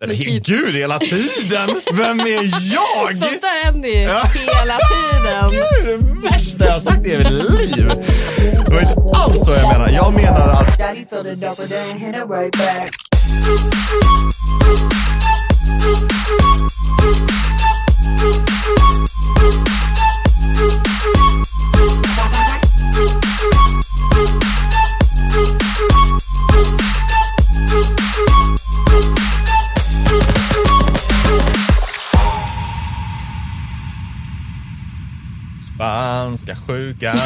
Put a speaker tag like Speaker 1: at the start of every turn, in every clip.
Speaker 1: Nej,
Speaker 2: Men
Speaker 1: men
Speaker 2: typ-
Speaker 1: Gud, hela tiden! Vem är jag?
Speaker 2: Sånt där händer ju hela tiden.
Speaker 1: Det är det värsta jag har sagt i hela mitt liv. Det var inte alls så jag menar. Jag menar att
Speaker 3: Daddy filled it up, but then hit it right back.
Speaker 1: spanska sjukan...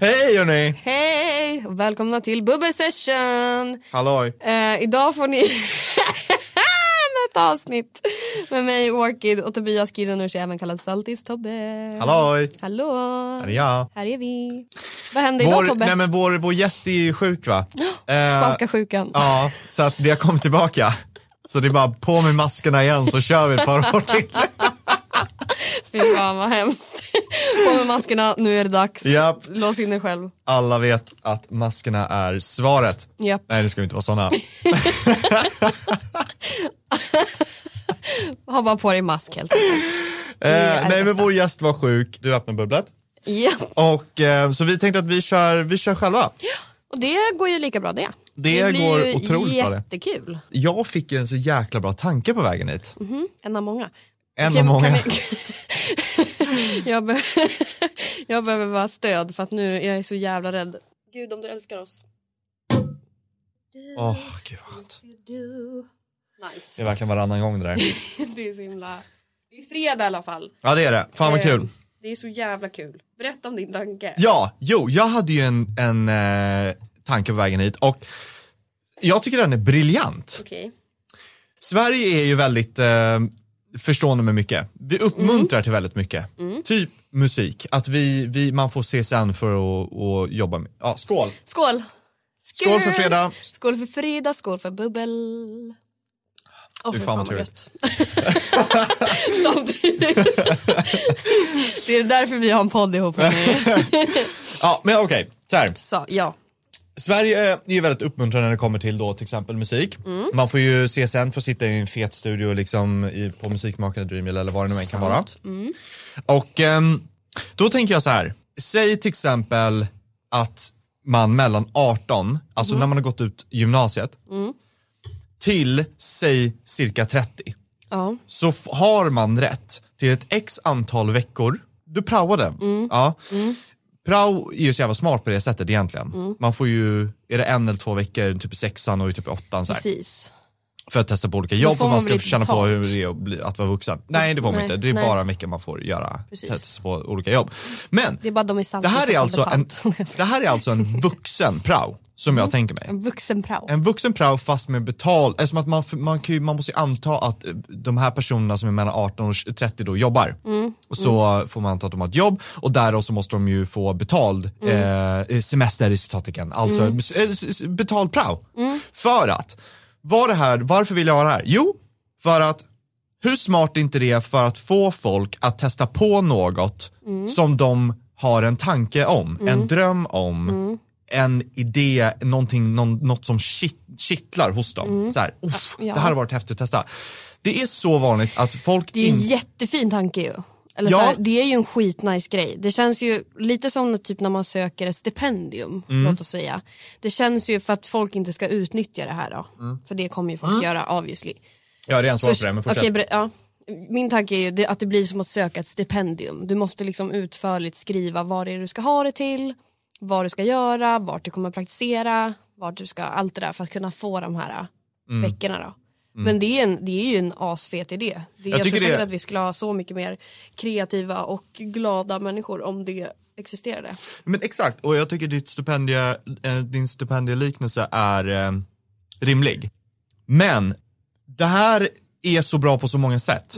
Speaker 1: Hej hörni!
Speaker 2: Hej och välkomna till Bubbel Session.
Speaker 1: Halloj.
Speaker 2: Eh, idag får ni ett avsnitt med mig Orchid och Tobias Kirunus, även kallad Saltis Tobbe.
Speaker 1: Halloj!
Speaker 2: Hallå.
Speaker 1: Här är jag.
Speaker 2: Här är vi. Vad händer idag
Speaker 1: Vår,
Speaker 2: Tobbe?
Speaker 1: nej men vår, vår gäst är ju sjuk va? Eh,
Speaker 2: Spanska sjukan.
Speaker 1: Ja, så att det kom tillbaka. Så det är bara på med maskerna igen så kör vi ett par år till.
Speaker 2: Fy fan vad hemskt. På med maskerna, nu är det dags.
Speaker 1: Japp.
Speaker 2: Lås in dig själv.
Speaker 1: Alla vet att maskerna är svaret.
Speaker 2: Japp.
Speaker 1: Nej, det ska inte vara Eh, sådana.
Speaker 2: Ha bara på dig mask helt enkelt.
Speaker 1: Eh, nej,
Speaker 2: bästa.
Speaker 1: men vår gäst var sjuk. Du öppnar bubblet.
Speaker 2: Japp.
Speaker 1: Och, eh, så vi tänkte att vi kör, vi kör själva.
Speaker 2: Och det går ju lika bra det.
Speaker 1: Det går otroligt bra
Speaker 2: jättekul.
Speaker 1: det.
Speaker 2: Jättekul.
Speaker 1: Jag fick ju en så jäkla bra tanke på vägen hit.
Speaker 2: En av många.
Speaker 1: En
Speaker 2: Mm.
Speaker 1: av
Speaker 2: Okej, men kan
Speaker 1: många.
Speaker 2: vi- jag, be- jag behöver bara stöd för att nu jag är så jävla rädd. Gud om du älskar oss.
Speaker 1: Åh, gud vad skönt. Det
Speaker 2: Nice.
Speaker 1: är verkligen varannan gång det där.
Speaker 2: Det är så himla... Det är fredag i alla fall.
Speaker 1: Ja, det är det. Fan vad kul.
Speaker 2: Eh, Det är så jävla kul. Berätta om din tanke.
Speaker 1: Ja, jo, jag hade ju en, en eh, tanke på vägen hit och jag tycker den är briljant.
Speaker 2: Okej.
Speaker 1: Sverige är ju väldigt eh, förstående med mycket. Vi uppmuntrar till väldigt mycket. Typ musik, att vi, vi, man får CSN för att att jobba med. Ja, skål!
Speaker 2: Skål!
Speaker 1: Skål för fredag!
Speaker 2: Skål för fredag, skål för bubbel. Åh,
Speaker 1: Fy
Speaker 2: fy
Speaker 1: fan, vad trevligt.
Speaker 2: gött. Samtidigt. det är därför vi har en podd ihop.
Speaker 1: Ja, men okej, så här.
Speaker 2: Så, ja.
Speaker 1: Sverige är ju väldigt uppmuntrande när det kommer till då till exempel musik. Man får ju CSN för att sitta i en fet studio liksom i, på musikmakarna Dreamhill eller vad det nu än kan vara.
Speaker 2: Mm.
Speaker 1: Och ehm, då tänker jag så här, säg till exempel att man mellan 18, alltså när man har gått ut gymnasiet, till säg cirka 30
Speaker 2: ja.
Speaker 1: så f- har man rätt till ett x antal veckor. Du praoade. Ja. Prao är ju så jävla smart på det sättet egentligen. Man får ju, är det en eller två veckor, typ i sexan och i typ i åttan så här,
Speaker 2: Precis.
Speaker 1: för att testa på olika jobb
Speaker 2: får
Speaker 1: och man
Speaker 2: man
Speaker 1: ska
Speaker 2: väl
Speaker 1: känna på
Speaker 2: betalt?
Speaker 1: hur det är att, bli, att vara vuxen. Nej det får man
Speaker 2: Nej,
Speaker 1: inte, det är
Speaker 2: nej.
Speaker 1: bara en vecka man får göra,
Speaker 2: Precis.
Speaker 1: testa på olika jobb. Men
Speaker 2: Det är bara de i Saltis
Speaker 1: det här,
Speaker 2: som
Speaker 1: är
Speaker 2: får
Speaker 1: alltså en,
Speaker 2: betalt.
Speaker 1: det här är alltså en vuxen prao som
Speaker 2: Mm.
Speaker 1: jag tänker mig.
Speaker 2: En vuxen prao.
Speaker 1: En vuxen prao fast med betal, eftersom att man, man, kan ju, man måste ju anta att eh, de här personerna som är mellan 18 och 30 då jobbar. Och så eh, får man anta att de har ett jobb och därav så måste de ju få betald eh, semester i citatiken, alltså s- eh, s- s- betald prao. För att, var det här, varför vill jag ha det här? Jo, för att hur smart är inte det är för att få folk att testa på något som de har en tanke om,
Speaker 2: Mm.
Speaker 1: en dröm om, en idé, någonting, någon, något som kitt, kittlar hos dem. Så här, "Uff,
Speaker 2: Mm. Ja.
Speaker 1: Det här har varit häftigt att testa. Det är så vanligt att folk
Speaker 2: Det är en
Speaker 1: inte...
Speaker 2: jättefin tanke ju. Eller
Speaker 1: Ja.
Speaker 2: så här, det är ju en skitnice grej. Det känns ju lite som när- typ när man söker ett stipendium.
Speaker 1: Mm.
Speaker 2: Låt oss säga. Det känns ju för att folk inte ska utnyttja det här då.
Speaker 1: Mm.
Speaker 2: För det kommer ju folk göra obviously.
Speaker 1: Jag har redan svarat på det, men
Speaker 2: Så-
Speaker 1: fortsätt.
Speaker 2: okej, ber- ja. Min tanke är ju det- att det blir som att söka ett stipendium. Du måste liksom utförligt skriva vad det är du ska ha det till, vad du ska göra, vart du kommer att praktisera, vart du ska, allt det där för att kunna få de här mm. veckorna då. Men det är, en, det är ju en asfet idé. Det, jag,
Speaker 1: Mm. tycker
Speaker 2: tror
Speaker 1: det-
Speaker 2: säkert att vi skulle ha så mycket mer kreativa och glada människor om det existerade.
Speaker 1: Men exakt, och jag tycker ditt stipendie, eh, din stipendieliknelse är eh, rimlig. Men
Speaker 2: Mhm.
Speaker 1: det här är så bra på så många sätt.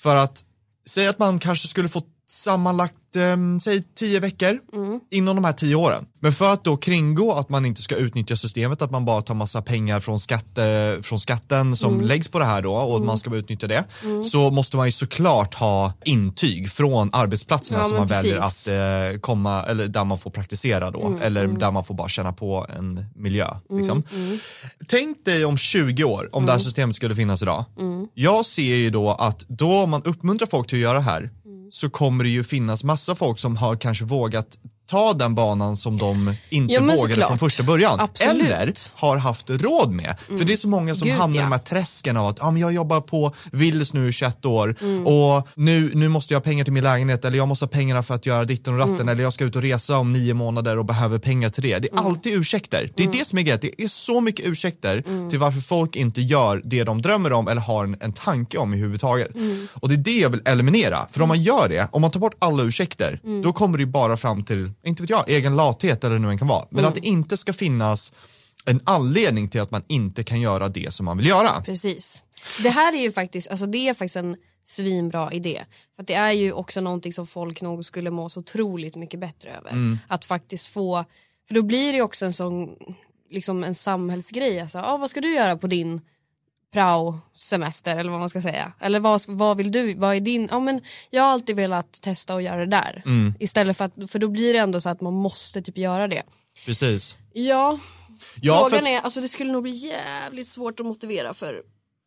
Speaker 1: För att, säg att man kanske skulle få sammanlagt, ehm, säg tio veckor
Speaker 2: Mm.
Speaker 1: inom de här tio åren. Men för att då kringgå att man inte ska utnyttja systemet, att man bara tar massa pengar från, skatte, från skatten som
Speaker 2: Mm.
Speaker 1: läggs på det här då och att man ska bara utnyttja det, så måste man ju såklart ha intyg från arbetsplatserna
Speaker 2: Ja,
Speaker 1: som
Speaker 2: men
Speaker 1: man väljer
Speaker 2: precis.
Speaker 1: att eh, komma, eller där man får praktisera då,
Speaker 2: Mm,
Speaker 1: eller där man får bara känna på en miljö. Liksom.
Speaker 2: mm.
Speaker 1: Tänk dig om 20 år, om det här systemet skulle finnas idag.
Speaker 2: Mm.
Speaker 1: Jag ser ju då att då om man uppmuntrar folk till att göra det här
Speaker 2: Mm.
Speaker 1: så kommer det ju finnas massa folk som har kanske vågat ta den banan som de inte
Speaker 2: Ja, men
Speaker 1: vågade från
Speaker 2: såklart.
Speaker 1: första början.
Speaker 2: Absolut. Mm.
Speaker 1: Eller har haft råd med. För det är så många som
Speaker 2: Gud,
Speaker 1: hamnar i de
Speaker 2: ja.
Speaker 1: här träsken av att ah, men jag jobbar på Willys nu i 21 år
Speaker 2: Mm.
Speaker 1: och nu, nu måste jag ha pengar till min lägenhet eller jag måste ha pengarna för att göra ditten och ratten
Speaker 2: Mm.
Speaker 1: eller jag ska ut och resa om nio månader och behöver pengar till det. Det är alltid ursäkter. Det är
Speaker 2: Mm.
Speaker 1: det som är grejen. Det är så mycket ursäkter till varför folk inte gör det de drömmer om eller har en, en tanke om i huvud taget.
Speaker 2: Mm.
Speaker 1: Och det är det jag vill eliminera. För om man gör det, om man tar bort alla ursäkter,
Speaker 2: Mm.
Speaker 1: då kommer det ju bara fram till, inte vet jag, egen lathet eller nu än kan vara. Men
Speaker 2: Mm.
Speaker 1: att det inte ska finnas en anledning till att man inte kan göra det som man vill göra.
Speaker 2: Precis. Det här är ju faktiskt, alltså det är faktiskt en svinbra idé. För att det är ju också någonting som folk nog skulle må så otroligt mycket bättre över. Att faktiskt få, för då blir det ju också en sån, liksom en samhällsgrej. Alltså, ah, vad ska du göra på din prao-semester eller vad man ska säga? Eller vad, vad vill du, vad är din, ja men jag har alltid velat testa och göra det där. Istället för att, för då blir det ändå så att man måste typ göra det.
Speaker 1: Precis.
Speaker 2: Ja,
Speaker 1: Ja,
Speaker 2: Frågan är, alltså det skulle nog bli jävligt svårt att motivera för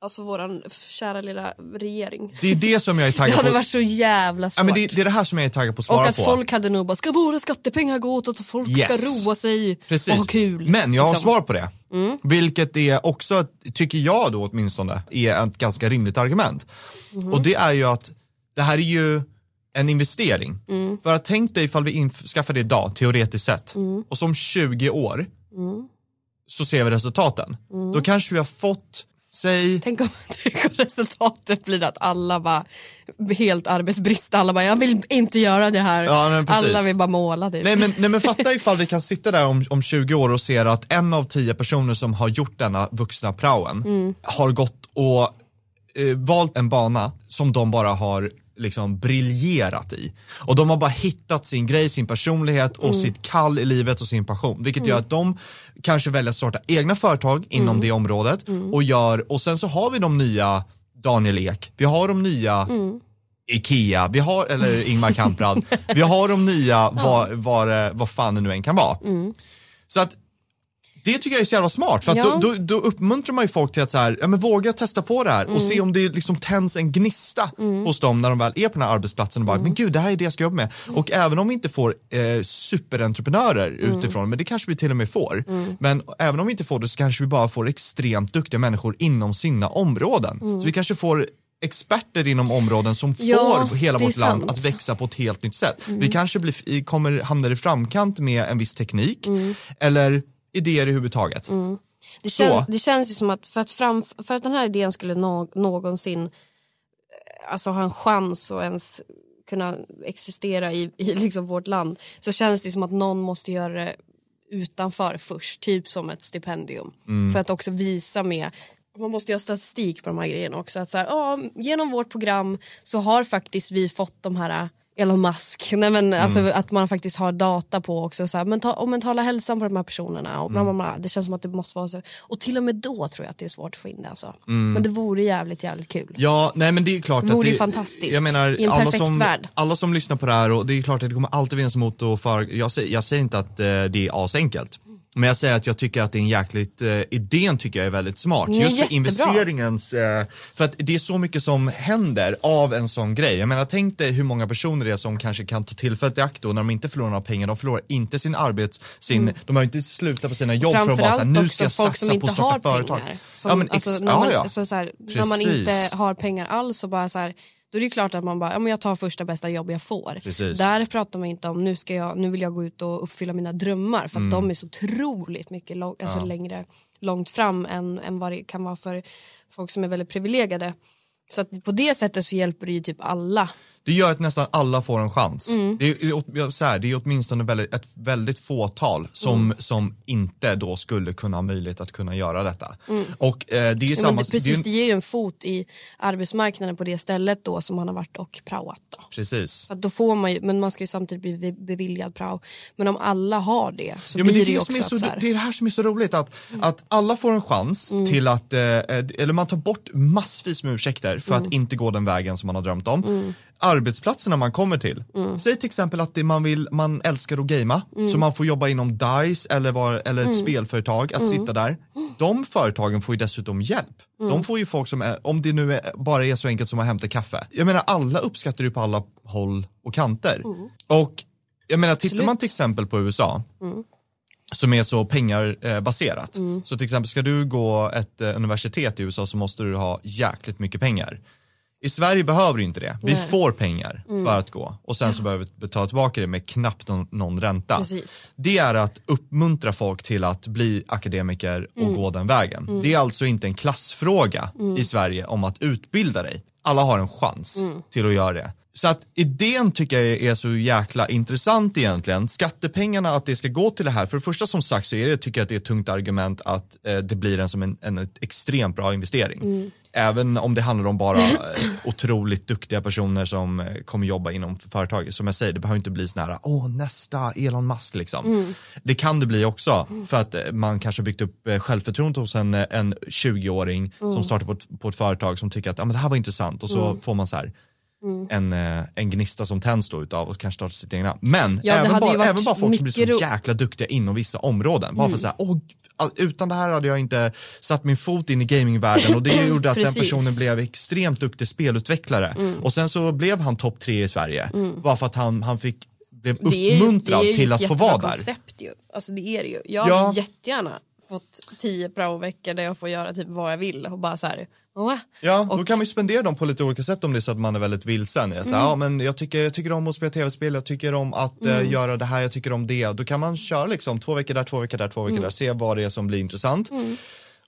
Speaker 2: alltså våran kära lilla regering.
Speaker 1: det är det som jag är
Speaker 2: Det
Speaker 1: taggad
Speaker 2: hade
Speaker 1: på.
Speaker 2: varit så jävla
Speaker 1: Ja,
Speaker 2: svårt.
Speaker 1: men det, det är det här som jag är taggad på att svara
Speaker 2: och att
Speaker 1: på.
Speaker 2: folk hade nog bara, ska våra skattepengar gå åt att folk
Speaker 1: Yes.
Speaker 2: ska roa sig
Speaker 1: Precis.
Speaker 2: och ha kul?
Speaker 1: Men jag har
Speaker 2: liksom.
Speaker 1: svar på det. Vilket är också, tycker jag då åtminstone, är ett ganska rimligt argument.
Speaker 2: Mhm.
Speaker 1: Och det är ju att det här är ju en investering.
Speaker 2: Mm.
Speaker 1: För att tänk dig ifall vi införskaffar det idag, teoretiskt sett,
Speaker 2: Mm.
Speaker 1: och som 20 år så ser vi resultaten.
Speaker 2: Mm.
Speaker 1: Då kanske vi har fått, säg
Speaker 2: Tänk om, tänk om resultatet blir att alla bara, helt arbetsbrist, alla bara, jag vill inte göra det här.
Speaker 1: Ja, men precis.
Speaker 2: alla vill bara måla typ.
Speaker 1: Nej men, nej men fatta ifall vi kan sitta där om, om 20 år och ser att en av 10 personer som har gjort denna vuxna praoen har gått och eh, valt en bana som de bara har liksom briljerat i. Och de har bara hittat sin grej, sin personlighet och sitt kall i livet och sin passion. Vilket gör att de kanske väljer att starta egna företag inom det området och gör, och sen så har vi de nya Daniel Ek, vi har de nya Ikea, vi har, eller Ingmar Kamprad, vi har de nya, vad, vad, det- vad fan det nu än kan vara. Så att det tycker jag är så jävla smart för att
Speaker 2: Ja.
Speaker 1: då, då, då uppmuntrar man ju folk till att så här, ja, men våga testa på det här och se om det liksom tänds en gnista hos dem när de väl är på den här arbetsplatsen och bara, men gud det här är det jag ska jobba med. Och även om vi inte får eh, superentreprenörer utifrån, men det kanske vi till och med får, men även om vi inte får det så kanske vi bara får extremt duktiga människor inom sina områden. Så vi kanske får experter inom områden som
Speaker 2: Ja,
Speaker 1: får hela
Speaker 2: det är
Speaker 1: vårt land
Speaker 2: sant. Mm.
Speaker 1: att växa på ett helt nytt sätt. Vi kanske blir, i- kommer hamnar i framkant med en viss teknik
Speaker 2: Mm.
Speaker 1: eller idéer i huvud taget.
Speaker 2: Det,
Speaker 1: Så.
Speaker 2: kän, det känns ju som att för att, framf- för att den här idén skulle nå- någonsin eh, alltså, ha en chans att ens kunna existera i, i liksom vårt land så känns det som att någon måste göra det utanför först, typ som ett stipendium. För att också visa med man måste ju ha statistik på de här grejerna också. Att så här, ja, genom vårt program så har faktiskt vi fått de här eh, Elon Musk, Nej, men, alltså, att man faktiskt har data på också. Så här, men ta, om mentala hälsan på de här personerna och bla, bla, bla. Det känns som att det måste vara så. Och till och med då tror jag att det är svårt att få in det. Alltså. Men det vore jävligt jävligt kul.
Speaker 1: Ja, nej men det är klart
Speaker 2: Vore
Speaker 1: att
Speaker 2: ju fantastiskt.
Speaker 1: Jag menar,
Speaker 2: I en
Speaker 1: alla,
Speaker 2: perfekt
Speaker 1: som,
Speaker 2: värld.
Speaker 1: alla som lyssnar på det här och det är klart att det kommer alltid finnas emot och för, jag, säger, jag säger inte att eh, det är asenkelt. Men jag säger att jag tycker att det är en jäkligt, eh, idén tycker jag är väldigt smart.
Speaker 2: Den är
Speaker 1: Just för
Speaker 2: jättebra.
Speaker 1: investeringens, eh, för att det är så mycket som händer av en sån grej. Jag menar tänk dig hur många personer det är som kanske kan ta tillfället i akt då när de inte förlorar några pengar, de förlorar inte sin arbets, sin, de har ju inte slutat på sina jobb för att bara
Speaker 2: Mm. Framförallt
Speaker 1: såhär, nu
Speaker 2: också
Speaker 1: ska jag
Speaker 2: folk som
Speaker 1: satsa på
Speaker 2: inte
Speaker 1: att starta
Speaker 2: har
Speaker 1: företag.
Speaker 2: pengar. Som, alltså,
Speaker 1: ex-
Speaker 2: när, man,
Speaker 1: ja, ja.
Speaker 2: Så så här, när man
Speaker 1: Precis.
Speaker 2: inte har pengar alls så bara så här, då är det ju klart att man bara, ja, men jag tar första bästa jobb jag får.
Speaker 1: Precis.
Speaker 2: Där pratar man inte om, nu, ska jag, nu vill jag gå ut och uppfylla mina drömmar
Speaker 1: Mm.
Speaker 2: för att de är så otroligt mycket lång, alltså längre långt fram än, än vad det kan vara för folk som är väldigt privilegierade. Så att på det sättet så hjälper det ju typ alla.
Speaker 1: det gör att nästan alla får en chans.
Speaker 2: Mm.
Speaker 1: Det, är, jag- så här, det är åtminstone väldigt, ett väldigt fåtal som,
Speaker 2: Mm.
Speaker 1: som inte då skulle kunna ha möjlighet att kunna göra detta. Och eh, det är ju
Speaker 2: Mm. Ja, men
Speaker 1: samma...
Speaker 2: det, precis,
Speaker 1: det är
Speaker 2: det,
Speaker 1: ju-
Speaker 2: ger ju en fot i arbetsmarknaden på det stället då som han har varit och praoat. Då.
Speaker 1: precis.
Speaker 2: För att då får man ju, men man ska ju samtidigt bli be- beviljad prao. Men om alla har det så
Speaker 1: Ja, men
Speaker 2: blir
Speaker 1: det,
Speaker 2: det,
Speaker 1: är
Speaker 2: ju
Speaker 1: det,
Speaker 2: också
Speaker 1: som är
Speaker 2: att
Speaker 1: så,
Speaker 2: så
Speaker 1: det
Speaker 2: här, Mm.
Speaker 1: är det här som är så roligt, att, att alla får en chans till att, eh, eller man tar bort massvis med ursäkter för
Speaker 2: Mm.
Speaker 1: att inte gå den vägen som man har drömt om. Arbetsplatserna man kommer till,
Speaker 2: Mm.
Speaker 1: säg till exempel att det man, vill, man älskar att gamea, så man får jobba inom DICE eller, var, eller ett
Speaker 2: Mm.
Speaker 1: spelföretag, att sitta där. De företagen får ju dessutom hjälp.
Speaker 2: Mm.
Speaker 1: De får ju folk som, är, om det nu är, bara är så enkelt som att hämta kaffe. Jag menar alla uppskattar ju på alla håll och kanter. Och jag menar tittar man
Speaker 2: Mm. Absolut.
Speaker 1: till exempel på USA, som är så pengarbaserat. Så till exempel ska du gå ett eh, universitet i USA så måste du ha jäkligt mycket pengar. I Sverige behöver du inte det. Vi
Speaker 2: Nej. Mm.
Speaker 1: får pengar för att gå och sen så behöver vi betala tillbaka det med knappt någon, någon ränta.
Speaker 2: Precis.
Speaker 1: Det är att uppmuntra folk till att bli akademiker och
Speaker 2: Mm.
Speaker 1: gå den vägen. Det är alltså inte en klassfråga i Sverige om att utbilda dig. Alla har en chans
Speaker 2: Mm.
Speaker 1: till att göra det. Så att idén tycker jag är så jäkla intressant egentligen. Skattepengarna att det ska gå till det här. För det första som sagt så är det, tycker jag att det är ett tungt argument att eh, det blir en som en, en extremt bra investering.
Speaker 2: Mm.
Speaker 1: Även om det handlar om bara eh, otroligt duktiga personer som eh, kommer jobba inom företaget. Som jag säger, det behöver inte bli sån här, åh nästa Elon Musk liksom.
Speaker 2: Mm.
Speaker 1: Det kan det bli också för att eh, man kanske har byggt upp eh, självförtroende hos en, eh, en 20-åring
Speaker 2: Mm.
Speaker 1: som startar på ett, på ett företag som tycker att ah, men det här var intressant och så får man så här
Speaker 2: Mm.
Speaker 1: en, eh, en gnista som tänds då utav och kanske starta sitt egna. Men
Speaker 2: Ja, det
Speaker 1: även,
Speaker 2: hade ju
Speaker 1: bara,
Speaker 2: varit
Speaker 1: även bara folk som blir så
Speaker 2: mycket ro-
Speaker 1: jäkla duktiga inom vissa områden. Bara för
Speaker 2: Mm.
Speaker 1: att säga, åh, g- all- utan det här hade jag inte satt min fot in i gamingvärlden och det gjorde att den
Speaker 2: Precis. Mm.
Speaker 1: personen blev extremt duktig spelutvecklare. Och sen så blev han topp tre i Sverige bara för att han, han fick blev
Speaker 2: det är-
Speaker 1: uppmuntrad
Speaker 2: det är ju
Speaker 1: till
Speaker 2: ett
Speaker 1: att få
Speaker 2: jättebra
Speaker 1: vara där.
Speaker 2: koncept ju. Alltså det är det ju. Jag
Speaker 1: Ja.
Speaker 2: hade jättegärna fått tio praoveckor där jag får göra typ vad jag vill och bara så här, "Åh."
Speaker 1: Ja, då kan man ju spendera dem på lite olika sätt om det är så att man är väldigt vilsen. Jag, ja, men jag, tycker, jag tycker om att spela tv-spel, jag tycker om att eh, göra det här, jag tycker om det. Då kan man köra liksom två veckor där, två veckor där, två veckor där, se vad det är som blir intressant.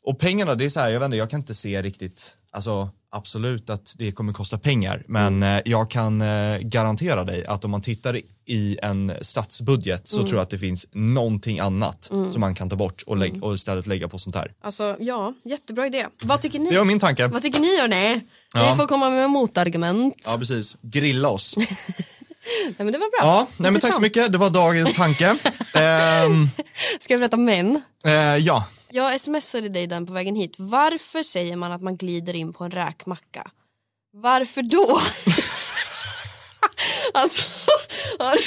Speaker 1: Och pengarna, det är så här, jag vet inte, jag kan inte se riktigt, alltså absolut att det kommer kosta pengar, men eh, jag kan eh, garantera dig att om man tittar i en statsbudget så tror jag att det finns någonting annat som man kan ta bort och, lägg, och istället lägga på sånt här.
Speaker 2: Alltså ja, jättebra idé. Vad tycker ni?
Speaker 1: Det var min tanke.
Speaker 2: Vad tycker ni hörni?
Speaker 1: Ja.
Speaker 2: Ni får komma med motargument.
Speaker 1: Ja, precis. Grilla oss.
Speaker 2: Nej men det var bra.
Speaker 1: Ja, nej, men tack så
Speaker 2: Intressant.
Speaker 1: mycket. Det var dagens tanke. Ehm,
Speaker 2: Ska jag berätta om män?
Speaker 1: eh, ja,
Speaker 2: Jag smsade dig den på vägen hit. Varför säger man att man glider in på en räkmacka? Varför då? alltså, har du,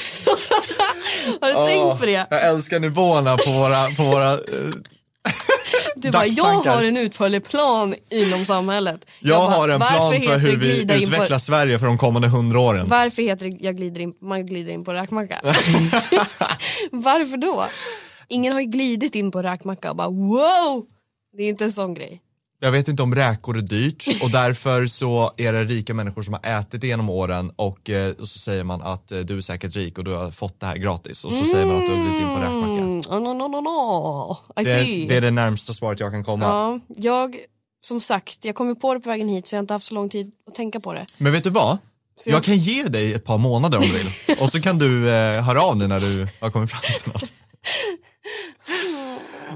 Speaker 2: har du tänkt på det?
Speaker 1: jag älskar nivåerna på våra... På våra eh,
Speaker 2: Du bara, jag
Speaker 1: dagstankar.
Speaker 2: har en utförlig plan inom samhället.
Speaker 1: jag
Speaker 2: bara,
Speaker 1: har en
Speaker 2: varför
Speaker 1: plan för
Speaker 2: heter
Speaker 1: hur vi
Speaker 2: glida in på-
Speaker 1: utvecklar Sverige för de kommande hundra åren.
Speaker 2: Varför heter det jag glider in, man glider in på en räkmacka? varför då? Ingen har ju glidit in på en räkmacka och bara wow! Det är inte en sån grej.
Speaker 1: Jag vet inte om räkor är dyrt och därför så är det rika människor som har ätit det genom åren och, eh, och så säger man att eh, du är säkert rik och du har fått det här gratis och så säger man att du har glidit in på en räkmacka.
Speaker 2: Mm, oh, no, no, no, no.
Speaker 1: Det
Speaker 2: I see.
Speaker 1: är, det är det närmsta svaret jag kan komma.
Speaker 2: Ja, jag, som sagt, jag kommer på det på vägen hit så jag har inte haft så lång tid att tänka på det.
Speaker 1: Men vet du vad?
Speaker 2: Så
Speaker 1: Jag
Speaker 2: jag-
Speaker 1: kan ge dig ett par månader om du vill och så kan du eh, höra av dig när du har kommit fram till något.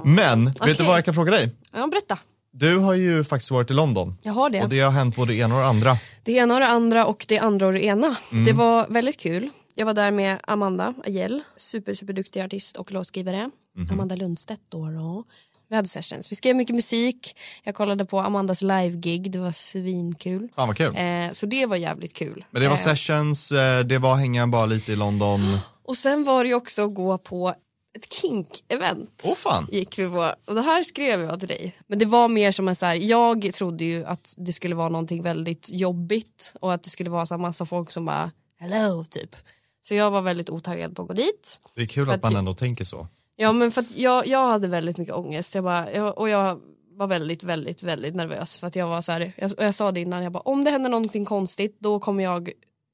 Speaker 1: Men, vet du
Speaker 2: Okej.
Speaker 1: vad jag kan fråga dig?
Speaker 2: Ja, berätta.
Speaker 1: Du har ju faktiskt varit i London
Speaker 2: Jag har det.
Speaker 1: och
Speaker 2: det.
Speaker 1: det har hänt både det ena och det andra.
Speaker 2: ena och det andra och det andra och det ena.
Speaker 1: Mm.
Speaker 2: Det var väldigt kul. Jag var där med Amanda Agell, super, superduktig artist och låtskrivare.
Speaker 1: Mhm.
Speaker 2: Amanda Lundstedt då, då. Vi hade sessions. Vi skrev mycket musik. Jag kollade på Amandas live-gig. Det var svinkul.
Speaker 1: Fan vad kul.
Speaker 2: Eh, så det var jävligt kul.
Speaker 1: Men det var
Speaker 2: eh,
Speaker 1: sessions, eh, det var hänga bara lite i London.
Speaker 2: och sen var det ju också att gå på ett kink-event.
Speaker 1: Åh fan.
Speaker 2: gick vi på, och det här skrev jag till dig. Men det var mer som en så här, jag trodde ju att det skulle vara någonting väldigt jobbigt och att det skulle vara så här massa folk som bara hello typ. Så jag var väldigt otaggad på att gå dit.
Speaker 1: Det är kul
Speaker 2: För
Speaker 1: att
Speaker 2: att
Speaker 1: man
Speaker 2: ju-
Speaker 1: ändå tänker så.
Speaker 2: Ja men för att jag, jag hade väldigt mycket ångest jag bara, jag, och jag var väldigt, väldigt, väldigt nervös för att jag var så här, jag, och jag sa det innan, jag bara om det händer någonting konstigt då kommer jag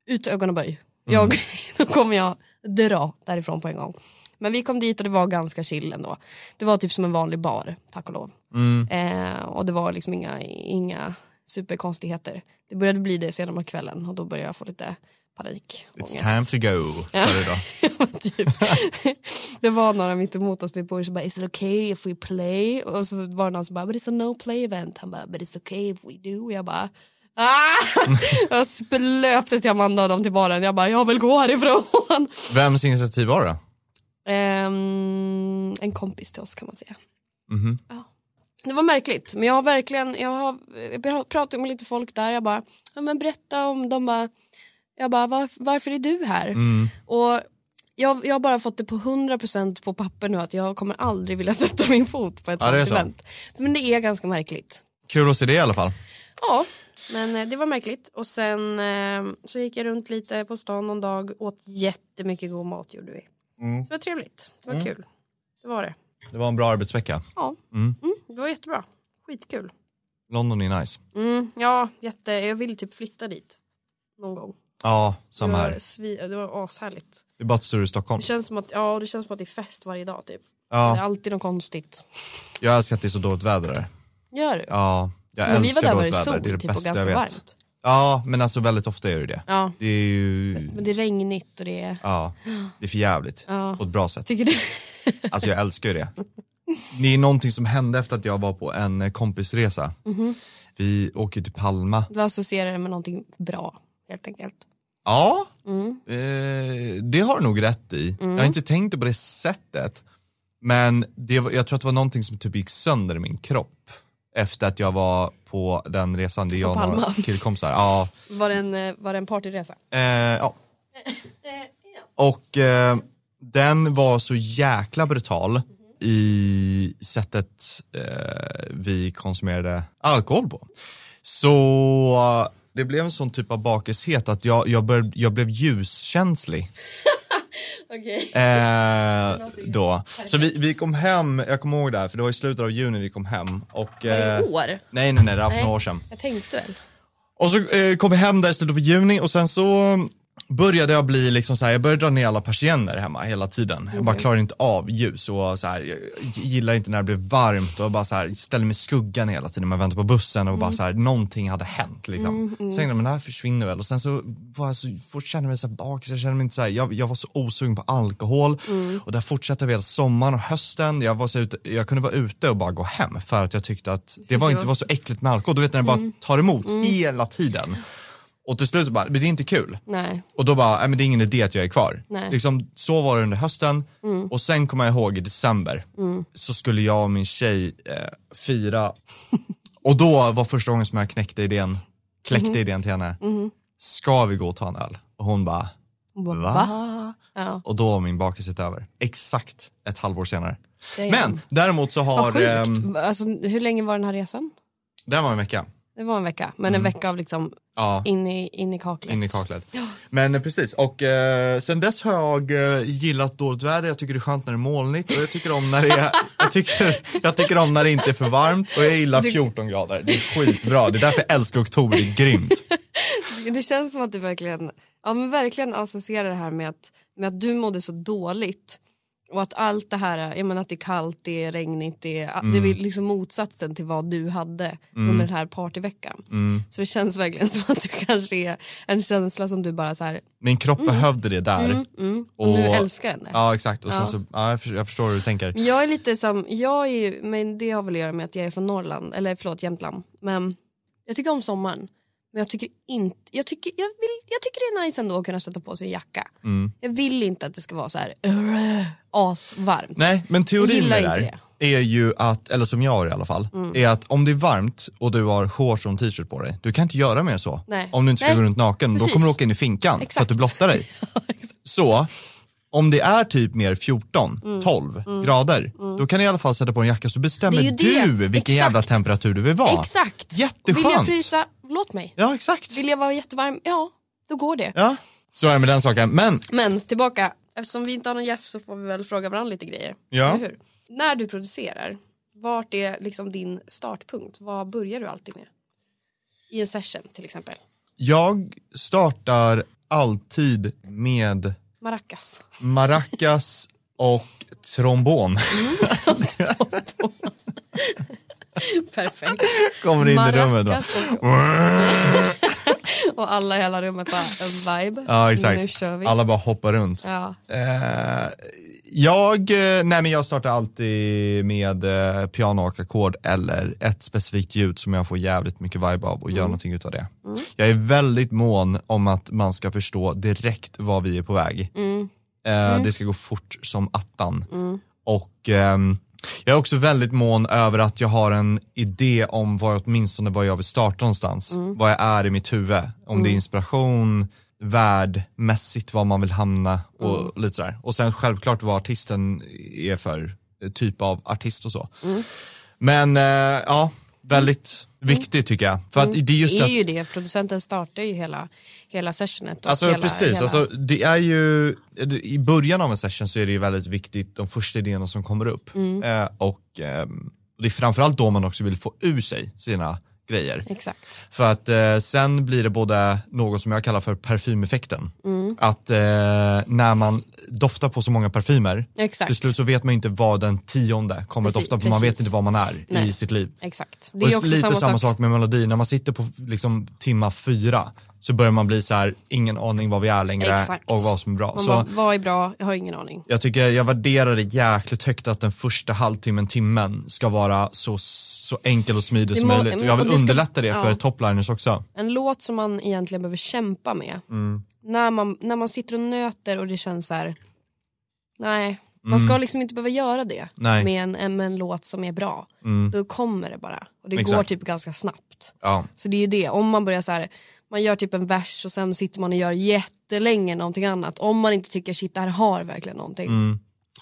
Speaker 2: ut ögonaböj. Jag,
Speaker 1: Mm.
Speaker 2: då kommer jag dra därifrån på en gång. Men vi kom dit och det var ganska chill ändå. Det var typ som en vanlig bar, tack och lov.
Speaker 1: Mm.
Speaker 2: Eh, och det var liksom inga, inga superkonstigheter. Det började bli det senare på kvällen och då började jag få lite panik.
Speaker 1: It's
Speaker 2: ångest.
Speaker 1: time to go, sa du då.
Speaker 2: typ. det var några mitt emot oss vid bordet som bara is it okay if we play? Och så var det någon som bara but it's a no play event. Han bara but it's okay if we do. Och jag bara Ah! jag splöpte till Amanda och dem till baren. Jag bara, jag vill gå härifrån.
Speaker 1: Vems initiativ var det?
Speaker 2: Ehm, en kompis till oss kan man säga.
Speaker 1: Mhm.
Speaker 2: Ja. Det var märkligt, men jag har verkligen, jag har jag pratat med lite folk där, jag bara, ja men berätta om, de bara, jag bara, var, varför är du här?
Speaker 1: Mm.
Speaker 2: Och jag, jag har bara fått det på 100% på papper nu att jag kommer aldrig vilja sätta min fot på ett
Speaker 1: Ja, det är
Speaker 2: sånt
Speaker 1: så.
Speaker 2: event. Men det är ganska märkligt.
Speaker 1: Kul att se det i alla fall.
Speaker 2: Ja, men eh, det var märkligt. Och sen eh, så gick jag runt lite på stan någon dag, åt jättemycket god mat gjorde vi.
Speaker 1: Mm.
Speaker 2: Så det var trevligt, det var kul. Det var det.
Speaker 1: Det var en bra arbetsvecka.
Speaker 2: Ja,
Speaker 1: Mm.
Speaker 2: mm, det var jättebra. Skitkul.
Speaker 1: London är nice.
Speaker 2: Mm, ja, jätte. Jag vill typ flytta dit. Någon gång.
Speaker 1: Ja,
Speaker 2: Det
Speaker 1: samma
Speaker 2: var,
Speaker 1: här.
Speaker 2: svi, det var ashärligt.
Speaker 1: Det är bara ett större Stockholm.
Speaker 2: Det känns, som att, ja, det känns som att det är fest varje dag typ. Det är
Speaker 1: Ja,
Speaker 2: alltid något konstigt.
Speaker 1: jag älskar att det är så dåligt väder där.
Speaker 2: Gör du?
Speaker 1: Ja, jag
Speaker 2: men vi var
Speaker 1: älskar
Speaker 2: där var
Speaker 1: dåligt
Speaker 2: det
Speaker 1: väder.
Speaker 2: sol
Speaker 1: Det är det
Speaker 2: typ, och
Speaker 1: bästa
Speaker 2: ganska
Speaker 1: jag vet.
Speaker 2: varmt.
Speaker 1: Ja, men alltså väldigt ofta är det det.
Speaker 2: Ja,
Speaker 1: Det är ju...
Speaker 2: men det är regnigt och det är...
Speaker 1: Ja, det är för jävligt
Speaker 2: Ja.
Speaker 1: På ett bra sätt.
Speaker 2: Tycker du?
Speaker 1: Alltså jag älskar ju det. Det är någonting som hände efter att jag var på en eh, kompisresa.
Speaker 2: Mhm.
Speaker 1: Vi åker till Palma.
Speaker 2: Du associerar det med någonting bra helt enkelt.
Speaker 1: Ja,
Speaker 2: Mm.
Speaker 1: eh, det har du nog rätt i. Jag har inte tänkt det på det sättet. Men det var, jag tror att det var någonting som typ gick sönder i min kropp efter att jag var på den resan. Det är jag och några
Speaker 2: Palma.
Speaker 1: killkompisar. Ja,
Speaker 2: Var det en, eh, var det en partyresa?
Speaker 1: eh, ja.
Speaker 2: Eh,
Speaker 1: Och eh, den var så jäkla brutal i sättet eh, vi konsumerade alkohol på. Så eh, det blev en sån typ av bakishet att jag, jag, började, jag blev ljuskänslig
Speaker 2: Okej.
Speaker 1: eh, då. Så vi, vi kom hem, jag kommer ihåg det här för det var i slutet av juni vi kom hem. Och, eh,
Speaker 2: I år?
Speaker 1: nej, nej, nej, det var för
Speaker 2: Nej.
Speaker 1: några år sedan.
Speaker 2: Jag tänkte väl.
Speaker 1: Och så eh, kom vi hem där i slutet på juni och sen så började jag bli liksom så här, jag började dra ner alla persienner hemma hela tiden. Jag bara klarar inte av ljus och så här, jag gillar inte när det blir varmt och bara så här, ställer mig i skuggan hela tiden. Man väntar på bussen och bara så här, någonting hade hänt liksom. Så tänkte jag, men det här försvinner väl. Och sen så, var jag så fort kände jag mig så här bakis, jag kände mig inte så här, jag, jag var så osugen på alkohol och där fortsatte vi hela sommaren och hösten. Jag, var så ute, jag kunde vara ute och bara gå hem för att jag tyckte att det var inte var så äckligt med alkohol. Du vet när det bara tar emot hela tiden. Och till slut bara, men det är inte kul.
Speaker 2: Nej.
Speaker 1: Och då bara, nej men det är ingen idé att jag är kvar.
Speaker 2: Nej. Mm.
Speaker 1: Liksom, så var det under hösten och sen kommer jag ihåg i december så skulle jag och min tjej eh, fira och då var första gången som jag knäckte idén, kläckte
Speaker 2: Mhm.
Speaker 1: idén till henne. Ska vi gå och ta en öl? Och hon bara,
Speaker 2: Hon bara,
Speaker 1: va?
Speaker 2: Ja.
Speaker 1: Och då var min bakelse över. Exakt ett halvår senare.
Speaker 2: Damn.
Speaker 1: Men däremot så har,
Speaker 2: Vad sjukt.
Speaker 1: ehm,
Speaker 2: Alltså, hur länge var den här resan?
Speaker 1: det här var en vecka.
Speaker 2: Det var en vecka, men en vecka av liksom
Speaker 1: Ja.
Speaker 2: in i, in i kaklet.
Speaker 1: Mm. In i kaklet. Men eh, precis, och eh, sen dess har jag eh, gillat dåligt väder. Jag tycker det är skönt när det är molnigt och jag tycker om när det, är, jag tycker, jag tycker om när det inte är för varmt och jag gillar 14 grader. Det är skitbra. Det är därför jag älskar oktober. Det är grymt.
Speaker 2: Det känns som att du verkligen, ja, men verkligen associerar det här med att, med att du mådde så dåligt och att allt det här, jag menar att det är kallt, det är regnigt, det är, det är liksom motsatsen till vad du hade under den här partyveckan. Så det känns verkligen som att det kanske är en känsla som du bara så här,
Speaker 1: Min kropp behövde det där.
Speaker 2: mm, och, nu älskar den det.
Speaker 1: Ja, exakt. Och sen så, ja, jag, förstår, jag förstår hur du tänker.
Speaker 2: Men Jag är lite som, jag är ju, men det har väl att göra med att jag är från Norrland, eller förlåt Jämtland. Men jag tycker om sommaren. Men jag tycker inte, jag tycker, jag vill, jag tycker det är nice ändå att kunna sätta på sig en jacka.
Speaker 1: Mm.
Speaker 2: Jag vill inte att det ska vara så här "Urgh", asvarmt.
Speaker 1: Nej, men teorin
Speaker 2: Gillar
Speaker 1: med det
Speaker 2: inte Mm.
Speaker 1: där är ju att, eller som jag har i alla fall, är att om det är varmt och du har shorts och en t-shirt på dig, du kan inte göra mer än så.
Speaker 2: Nej.
Speaker 1: Om du inte ska
Speaker 2: Nej.
Speaker 1: gå runt naken, då
Speaker 2: Precis.
Speaker 1: kommer du åka in i finkan för att
Speaker 2: Exakt.
Speaker 1: du blottar dig. så, om det är typ mer 14, 12 grader, då kan du i alla fall sätta på en jacka så bestämmer
Speaker 2: Det är ju det.
Speaker 1: du vilken
Speaker 2: Exakt.
Speaker 1: jävla temperatur du vill vara.
Speaker 2: Exakt.
Speaker 1: Jätteskönt.
Speaker 2: Vill jag frysa, låt mig.
Speaker 1: Ja, exakt.
Speaker 2: Vill jag vara jättevarm, ja då går det.
Speaker 1: Ja. Så är det med den saken. Men
Speaker 2: Men tillbaka, eftersom vi inte har någon gäst så får vi väl fråga varandra lite grejer.
Speaker 1: Ja.
Speaker 2: Eller hur? När du producerar, vart är liksom din startpunkt? Vad börjar du alltid med? I en session till exempel.
Speaker 1: jag startar alltid med
Speaker 2: Maracas.
Speaker 1: maracas och trombon.
Speaker 2: Perfekt.
Speaker 1: Kommer in i rummet. va?
Speaker 2: Maracas och, Och alla i hela rummet bara, en vibe.
Speaker 1: Ja, exakt.
Speaker 2: Nu kör vi.
Speaker 1: Alla bara hoppar runt.
Speaker 2: Ja.
Speaker 1: Eh, jag, eh, nej men jag startar alltid med eh, piano och ackord eller ett specifikt ljud som jag får jävligt mycket vibe av och gör någonting utav det. Jag är väldigt mån om att man ska förstå direkt var vi är på väg. Eh, Det ska gå fort som attan. Och ehm, jag är också väldigt mån över att jag har en idé om var, åtminstone var jag vill starta någonstans. Vad jag är i mitt huvud. Om det är inspiration, värdmässigt var man vill hamna och lite sådär. Och sen självklart vad artisten är för eh, typ av artist och så. Men eh, ja, väldigt viktigt tycker jag. För att det är just
Speaker 2: det är
Speaker 1: att
Speaker 2: ju det, producenten startar ju hela, hela sessionet. och
Speaker 1: Alltså
Speaker 2: hela,
Speaker 1: precis,
Speaker 2: hela...
Speaker 1: Alltså, det är ju, i början av en session så är det ju väldigt viktigt de första idéerna som kommer upp.
Speaker 2: Mm.
Speaker 1: Eh, och, ehm, och det är framförallt då man också vill få ur sig sina grejer.
Speaker 2: Exakt.
Speaker 1: För att eh, sen blir det både något som jag kallar för parfymeffekten.
Speaker 2: Mm.
Speaker 1: Att eh, när man doftar på så många parfymer,
Speaker 2: Exakt.
Speaker 1: till slut så vet man inte vad den tionde kommer
Speaker 2: Precis,
Speaker 1: att dofta för man vet
Speaker 2: precis.
Speaker 1: inte vad man är
Speaker 2: Nej.
Speaker 1: i sitt liv.
Speaker 2: Exakt.
Speaker 1: Det är lite samma, sak. med melodi. När man sitter på liksom, timma fyra så börjar man bli så här, ingen aning vad vi är längre
Speaker 2: Exakt.
Speaker 1: och vad som är bra.
Speaker 2: Man
Speaker 1: Så
Speaker 2: bara, vad är bra? Jag har ingen aning.
Speaker 1: jag tycker jag värderar det jäkligt högt att den första halvtimmen, timmen ska vara så, så enkel och smidig
Speaker 2: Det
Speaker 1: som
Speaker 2: må-
Speaker 1: möjligt. Och jag
Speaker 2: och
Speaker 1: vill
Speaker 2: det ska-
Speaker 1: underlätta det för
Speaker 2: ja.
Speaker 1: topliners också.
Speaker 2: En låt som man egentligen behöver kämpa med.
Speaker 1: Mm.
Speaker 2: När, man, när man sitter och nöter och det känns så här. Nej, man ska liksom inte behöva göra det
Speaker 1: Mm. Nej. Mm.
Speaker 2: med en, en- med en låt som är bra. Då kommer det bara. Och det går
Speaker 1: Exakt.
Speaker 2: typ ganska snabbt.
Speaker 1: Ja.
Speaker 2: Så det är ju det, om man börjar så här, man gör typ en vers och sen sitter man och gör jättelänge någonting annat. Om man inte tycker shit det här har verkligen någonting.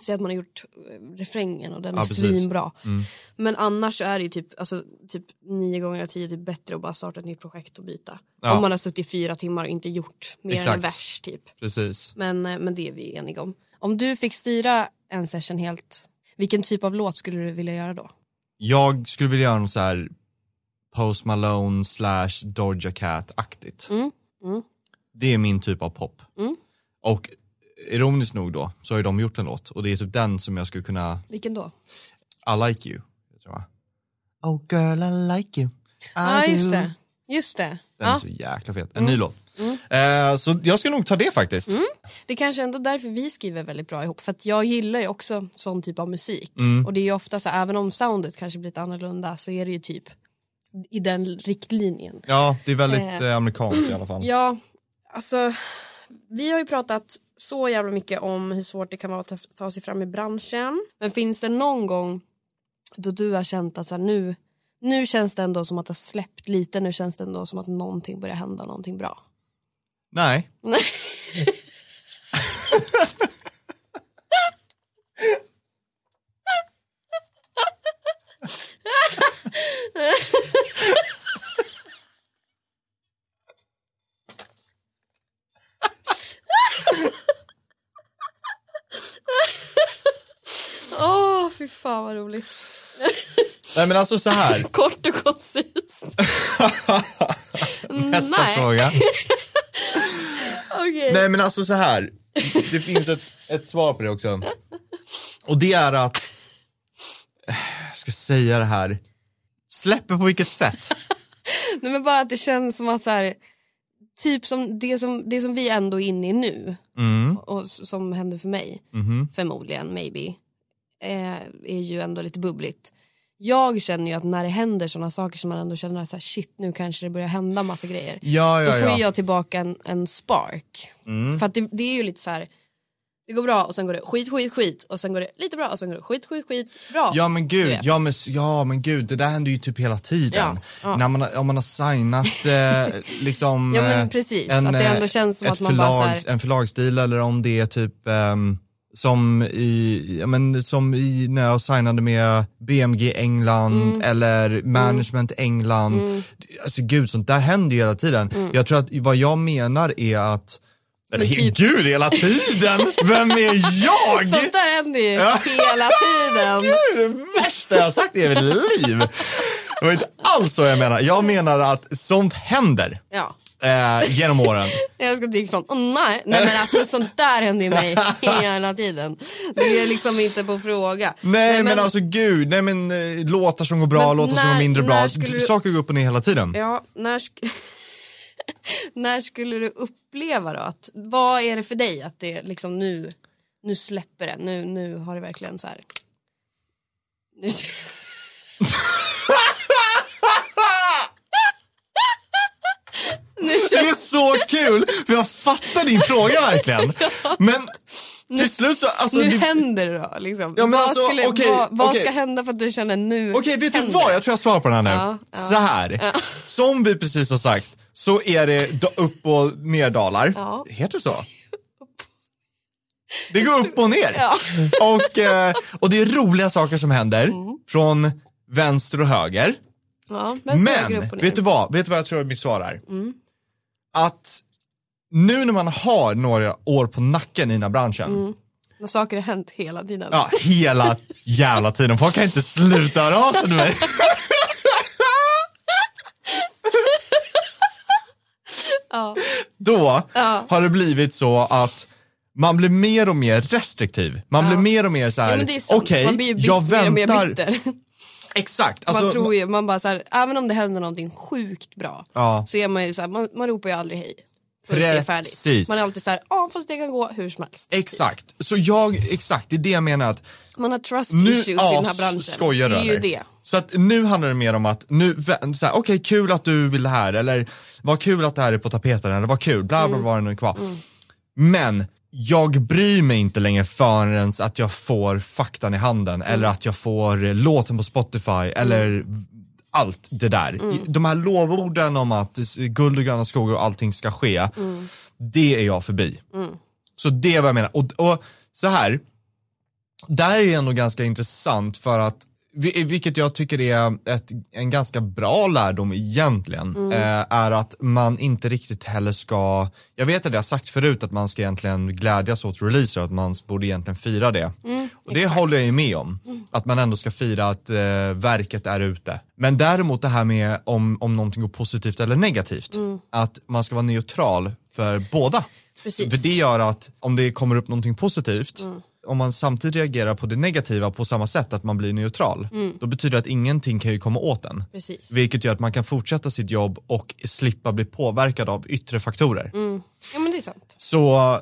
Speaker 2: Säg att man har gjort eh, refrängen och den
Speaker 1: Mm. Ja,
Speaker 2: är
Speaker 1: precis. Mm.
Speaker 2: svinbra. Men annars så är det ju typ, alltså, typ nio gånger av tio typ bättre att bara starta ett nytt projekt och byta.
Speaker 1: Ja.
Speaker 2: Om man har suttit i fyra timmar och inte gjort mer än en
Speaker 1: Exakt.
Speaker 2: vers typ.
Speaker 1: Precis.
Speaker 2: Men, eh, men det är vi eniga om. Om du fick styra en session helt, vilken typ av låt skulle du vilja göra då?
Speaker 1: Jag skulle vilja göra något så här Post Malone slash Doja Cat-aktigt.
Speaker 2: Mm,
Speaker 1: Det är min typ av pop. Och ironiskt nog då så har ju de gjort en låt och det är typ den som jag skulle kunna
Speaker 2: Vilken då?
Speaker 1: I like you. Tror jag. Oh girl I like you. I
Speaker 2: Ja ah, just
Speaker 1: do.
Speaker 2: det. Just det.
Speaker 1: Den
Speaker 2: Ja. Mm.
Speaker 1: är så jäkla fet. En ny låt. Eh, så jag ska nog ta det faktiskt.
Speaker 2: Det kanske ändå är därför vi skriver väldigt bra ihop. För att jag gillar ju också sån typ av musik. Och det är ju ofta så, även om soundet kanske blir lite annorlunda så är det ju typ i den riktlinjen.
Speaker 1: Ja, det är väldigt eh, amerikanskt i alla fall.
Speaker 2: Ja, alltså vi har ju pratat så jävla mycket om hur svårt det kan vara att ta, ta sig fram i branschen. Men finns det någon gång då du har känt att så här, nu, nu känns det ändå som att det har släppt lite, nu känns det ändå som att någonting börjar hända, någonting bra?
Speaker 1: Nej.
Speaker 2: Nej. Åh, fy fan vad roligt.
Speaker 1: Nej men alltså så här.
Speaker 2: Kort och koncist.
Speaker 1: Nästa
Speaker 2: Nej.
Speaker 1: fråga.
Speaker 2: Okej.
Speaker 1: Nej men alltså så här. Det finns ett, ett svar på det också. Och det är att, jag ska säga det här, släpper på vilket sätt?
Speaker 2: Nej men bara att det känns som att så här, typ som det, som det som vi ändå är inne i nu
Speaker 1: Mm.
Speaker 2: och s- som hände för mig
Speaker 1: Mm-hmm.
Speaker 2: förmodligen maybe eh, är ju ändå lite bubbligt. Jag känner ju att när det händer sådana saker som man ändå känner så här shit nu kanske det börjar hända massa grejer.
Speaker 1: Ja,
Speaker 2: Då
Speaker 1: ja, Mm.
Speaker 2: får ju
Speaker 1: ja.
Speaker 2: jag tillbaka en, en spark. För att det, det är ju lite så här det går bra och sen går det skit, skit, skit och sen går det lite bra och sen går det skit, skit, skit, bra.
Speaker 1: Ja men
Speaker 2: Du
Speaker 1: gud,
Speaker 2: vet.
Speaker 1: ja men, s- ja men gud, det där händer ju typ hela tiden.
Speaker 2: Ja, ja.
Speaker 1: När man, har- om man har signat eh, liksom
Speaker 2: Ja, men
Speaker 1: eh,
Speaker 2: precis. Att det ändå
Speaker 1: eh,
Speaker 2: känns som
Speaker 1: ett
Speaker 2: att man bara så här-
Speaker 1: förlags- En förlagsdeal eller om det är typ ehm, som i, ja, men, som i när jag signade med BMG England
Speaker 2: Mm.
Speaker 1: eller Management England. Alltså gud, sånt där händer ju hela tiden.
Speaker 2: Mm.
Speaker 1: Jag tror att vad jag menar är att, eller,
Speaker 2: typ-
Speaker 1: gud hela tiden, vem är jag?
Speaker 2: Sånt där händer ju hela tiden.
Speaker 1: Det är det värsta jag har sagt i mitt liv. Det var inte alls så jag menar. Jag menar att sånt händer
Speaker 2: Ja.
Speaker 1: eh, genom åren.
Speaker 2: Jag ska dyka från, åh nej, nej men alltså sånt där händer ju mig hela tiden. Det är liksom inte på fråga.
Speaker 1: Nej, men, alltså gud, nej men eh, låtar som går bra,
Speaker 2: Men
Speaker 1: låtar som
Speaker 2: när-
Speaker 1: går mindre bra.
Speaker 2: när skulle du-
Speaker 1: Saker går upp och ner hela tiden.
Speaker 2: Ja, när, sk- När skulle du uppleva då? Att, vad är det för dig att det liksom nu, nu släpper det? Nu, nu har det verkligen så här... Nu... nu
Speaker 1: Det är så känns- kul, för jag fattar din fråga verkligen. Men till slut så, alltså,
Speaker 2: nu
Speaker 1: det,
Speaker 2: händer det då? Liksom.
Speaker 1: Ja, men
Speaker 2: vad
Speaker 1: alltså,
Speaker 2: skulle,
Speaker 1: okej,
Speaker 2: vad, vad
Speaker 1: okej.
Speaker 2: ska hända för att du känner nu
Speaker 1: Okej, vet du
Speaker 2: händer
Speaker 1: vad?
Speaker 2: det?
Speaker 1: Jag tror jag svarar på den här nu.
Speaker 2: Ja, ja.
Speaker 1: så här, som vi precis har sagt så är det da- upp och nerdalar.
Speaker 2: Ja.
Speaker 1: Heter det så? Det går upp och ner.
Speaker 2: Ja.
Speaker 1: Och, eh, och det är roliga saker som händer
Speaker 2: Mm.
Speaker 1: från vänster och höger.
Speaker 2: Ja,
Speaker 1: Men vet du vad? Vet du vad jag tror mitt svar är?
Speaker 2: Mm.
Speaker 1: Att nu när man har några år på nacken i den här branschen
Speaker 2: Mm. vad? Saker har hänt hela tiden.
Speaker 1: Ja, hela jävla tiden. Folk kan inte sluta höra av sig till mig.
Speaker 2: Ja.
Speaker 1: Då
Speaker 2: Ja.
Speaker 1: har det blivit så att man blir mer och mer restriktiv. Man blir mer och mer så
Speaker 2: Ja,
Speaker 1: här,
Speaker 2: men det är sant.
Speaker 1: okej,
Speaker 2: man blir ju bit-
Speaker 1: jag
Speaker 2: mer och mer
Speaker 1: väntar.
Speaker 2: bitter.
Speaker 1: Exakt.
Speaker 2: Man
Speaker 1: Alltså,
Speaker 2: tror ju, man bara så här, även om det händer någonting sjukt bra
Speaker 1: Ja.
Speaker 2: så är man ju så här, man, man ropar ju aldrig hej. förrän det är färdigt.
Speaker 1: Precis. Eh,
Speaker 2: Man är alltid så här, ja fast det kan gå hur som helst.
Speaker 1: Exakt. Så jag, exakt, det är det jag menar att
Speaker 2: Man har trust
Speaker 1: nu,
Speaker 2: issues i den här branschen.
Speaker 1: skojar
Speaker 2: det är ju
Speaker 1: eller?
Speaker 2: det.
Speaker 1: Så att nu handlar det mer om att nu, vä- så här, okej kul att du vill det här eller vad kul att det här är på tapeten eller vad kul, bla
Speaker 2: Mm.
Speaker 1: bla bla vad det nu är kvar. Men jag bryr mig inte längre förrän att jag får faktan i handen
Speaker 2: Mm.
Speaker 1: eller att jag får eh, låten på Spotify eller allt det där.
Speaker 2: Mm.
Speaker 1: I- De här lovorden om att s- guld och gröna skogar och allting ska ske,
Speaker 2: Mm.
Speaker 1: det är jag förbi. Så det är vad jag menar. Och, och så här, där är det ändå ganska intressant för att vi- vilket jag tycker är ett, en ganska bra lärdom egentligen, eh, är att man inte riktigt heller ska, jag vet att jag har sagt förut att man ska egentligen glädjas åt releaser, att man borde egentligen fira det. och det håller jag ju med om, att man ändå ska fira att eh, verket är ute. Men däremot det här med om, om någonting går positivt eller negativt, att man ska vara neutral för båda.
Speaker 2: Precis.
Speaker 1: För det gör att om det kommer upp någonting positivt, om man samtidigt reagerar på det negativa på samma sätt, att man blir neutral, då betyder det att ingenting kan ju komma åt en.
Speaker 2: Precis.
Speaker 1: Vilket gör att man kan fortsätta sitt jobb och slippa bli påverkad av yttre faktorer.
Speaker 2: Ja men det är sant.
Speaker 1: Så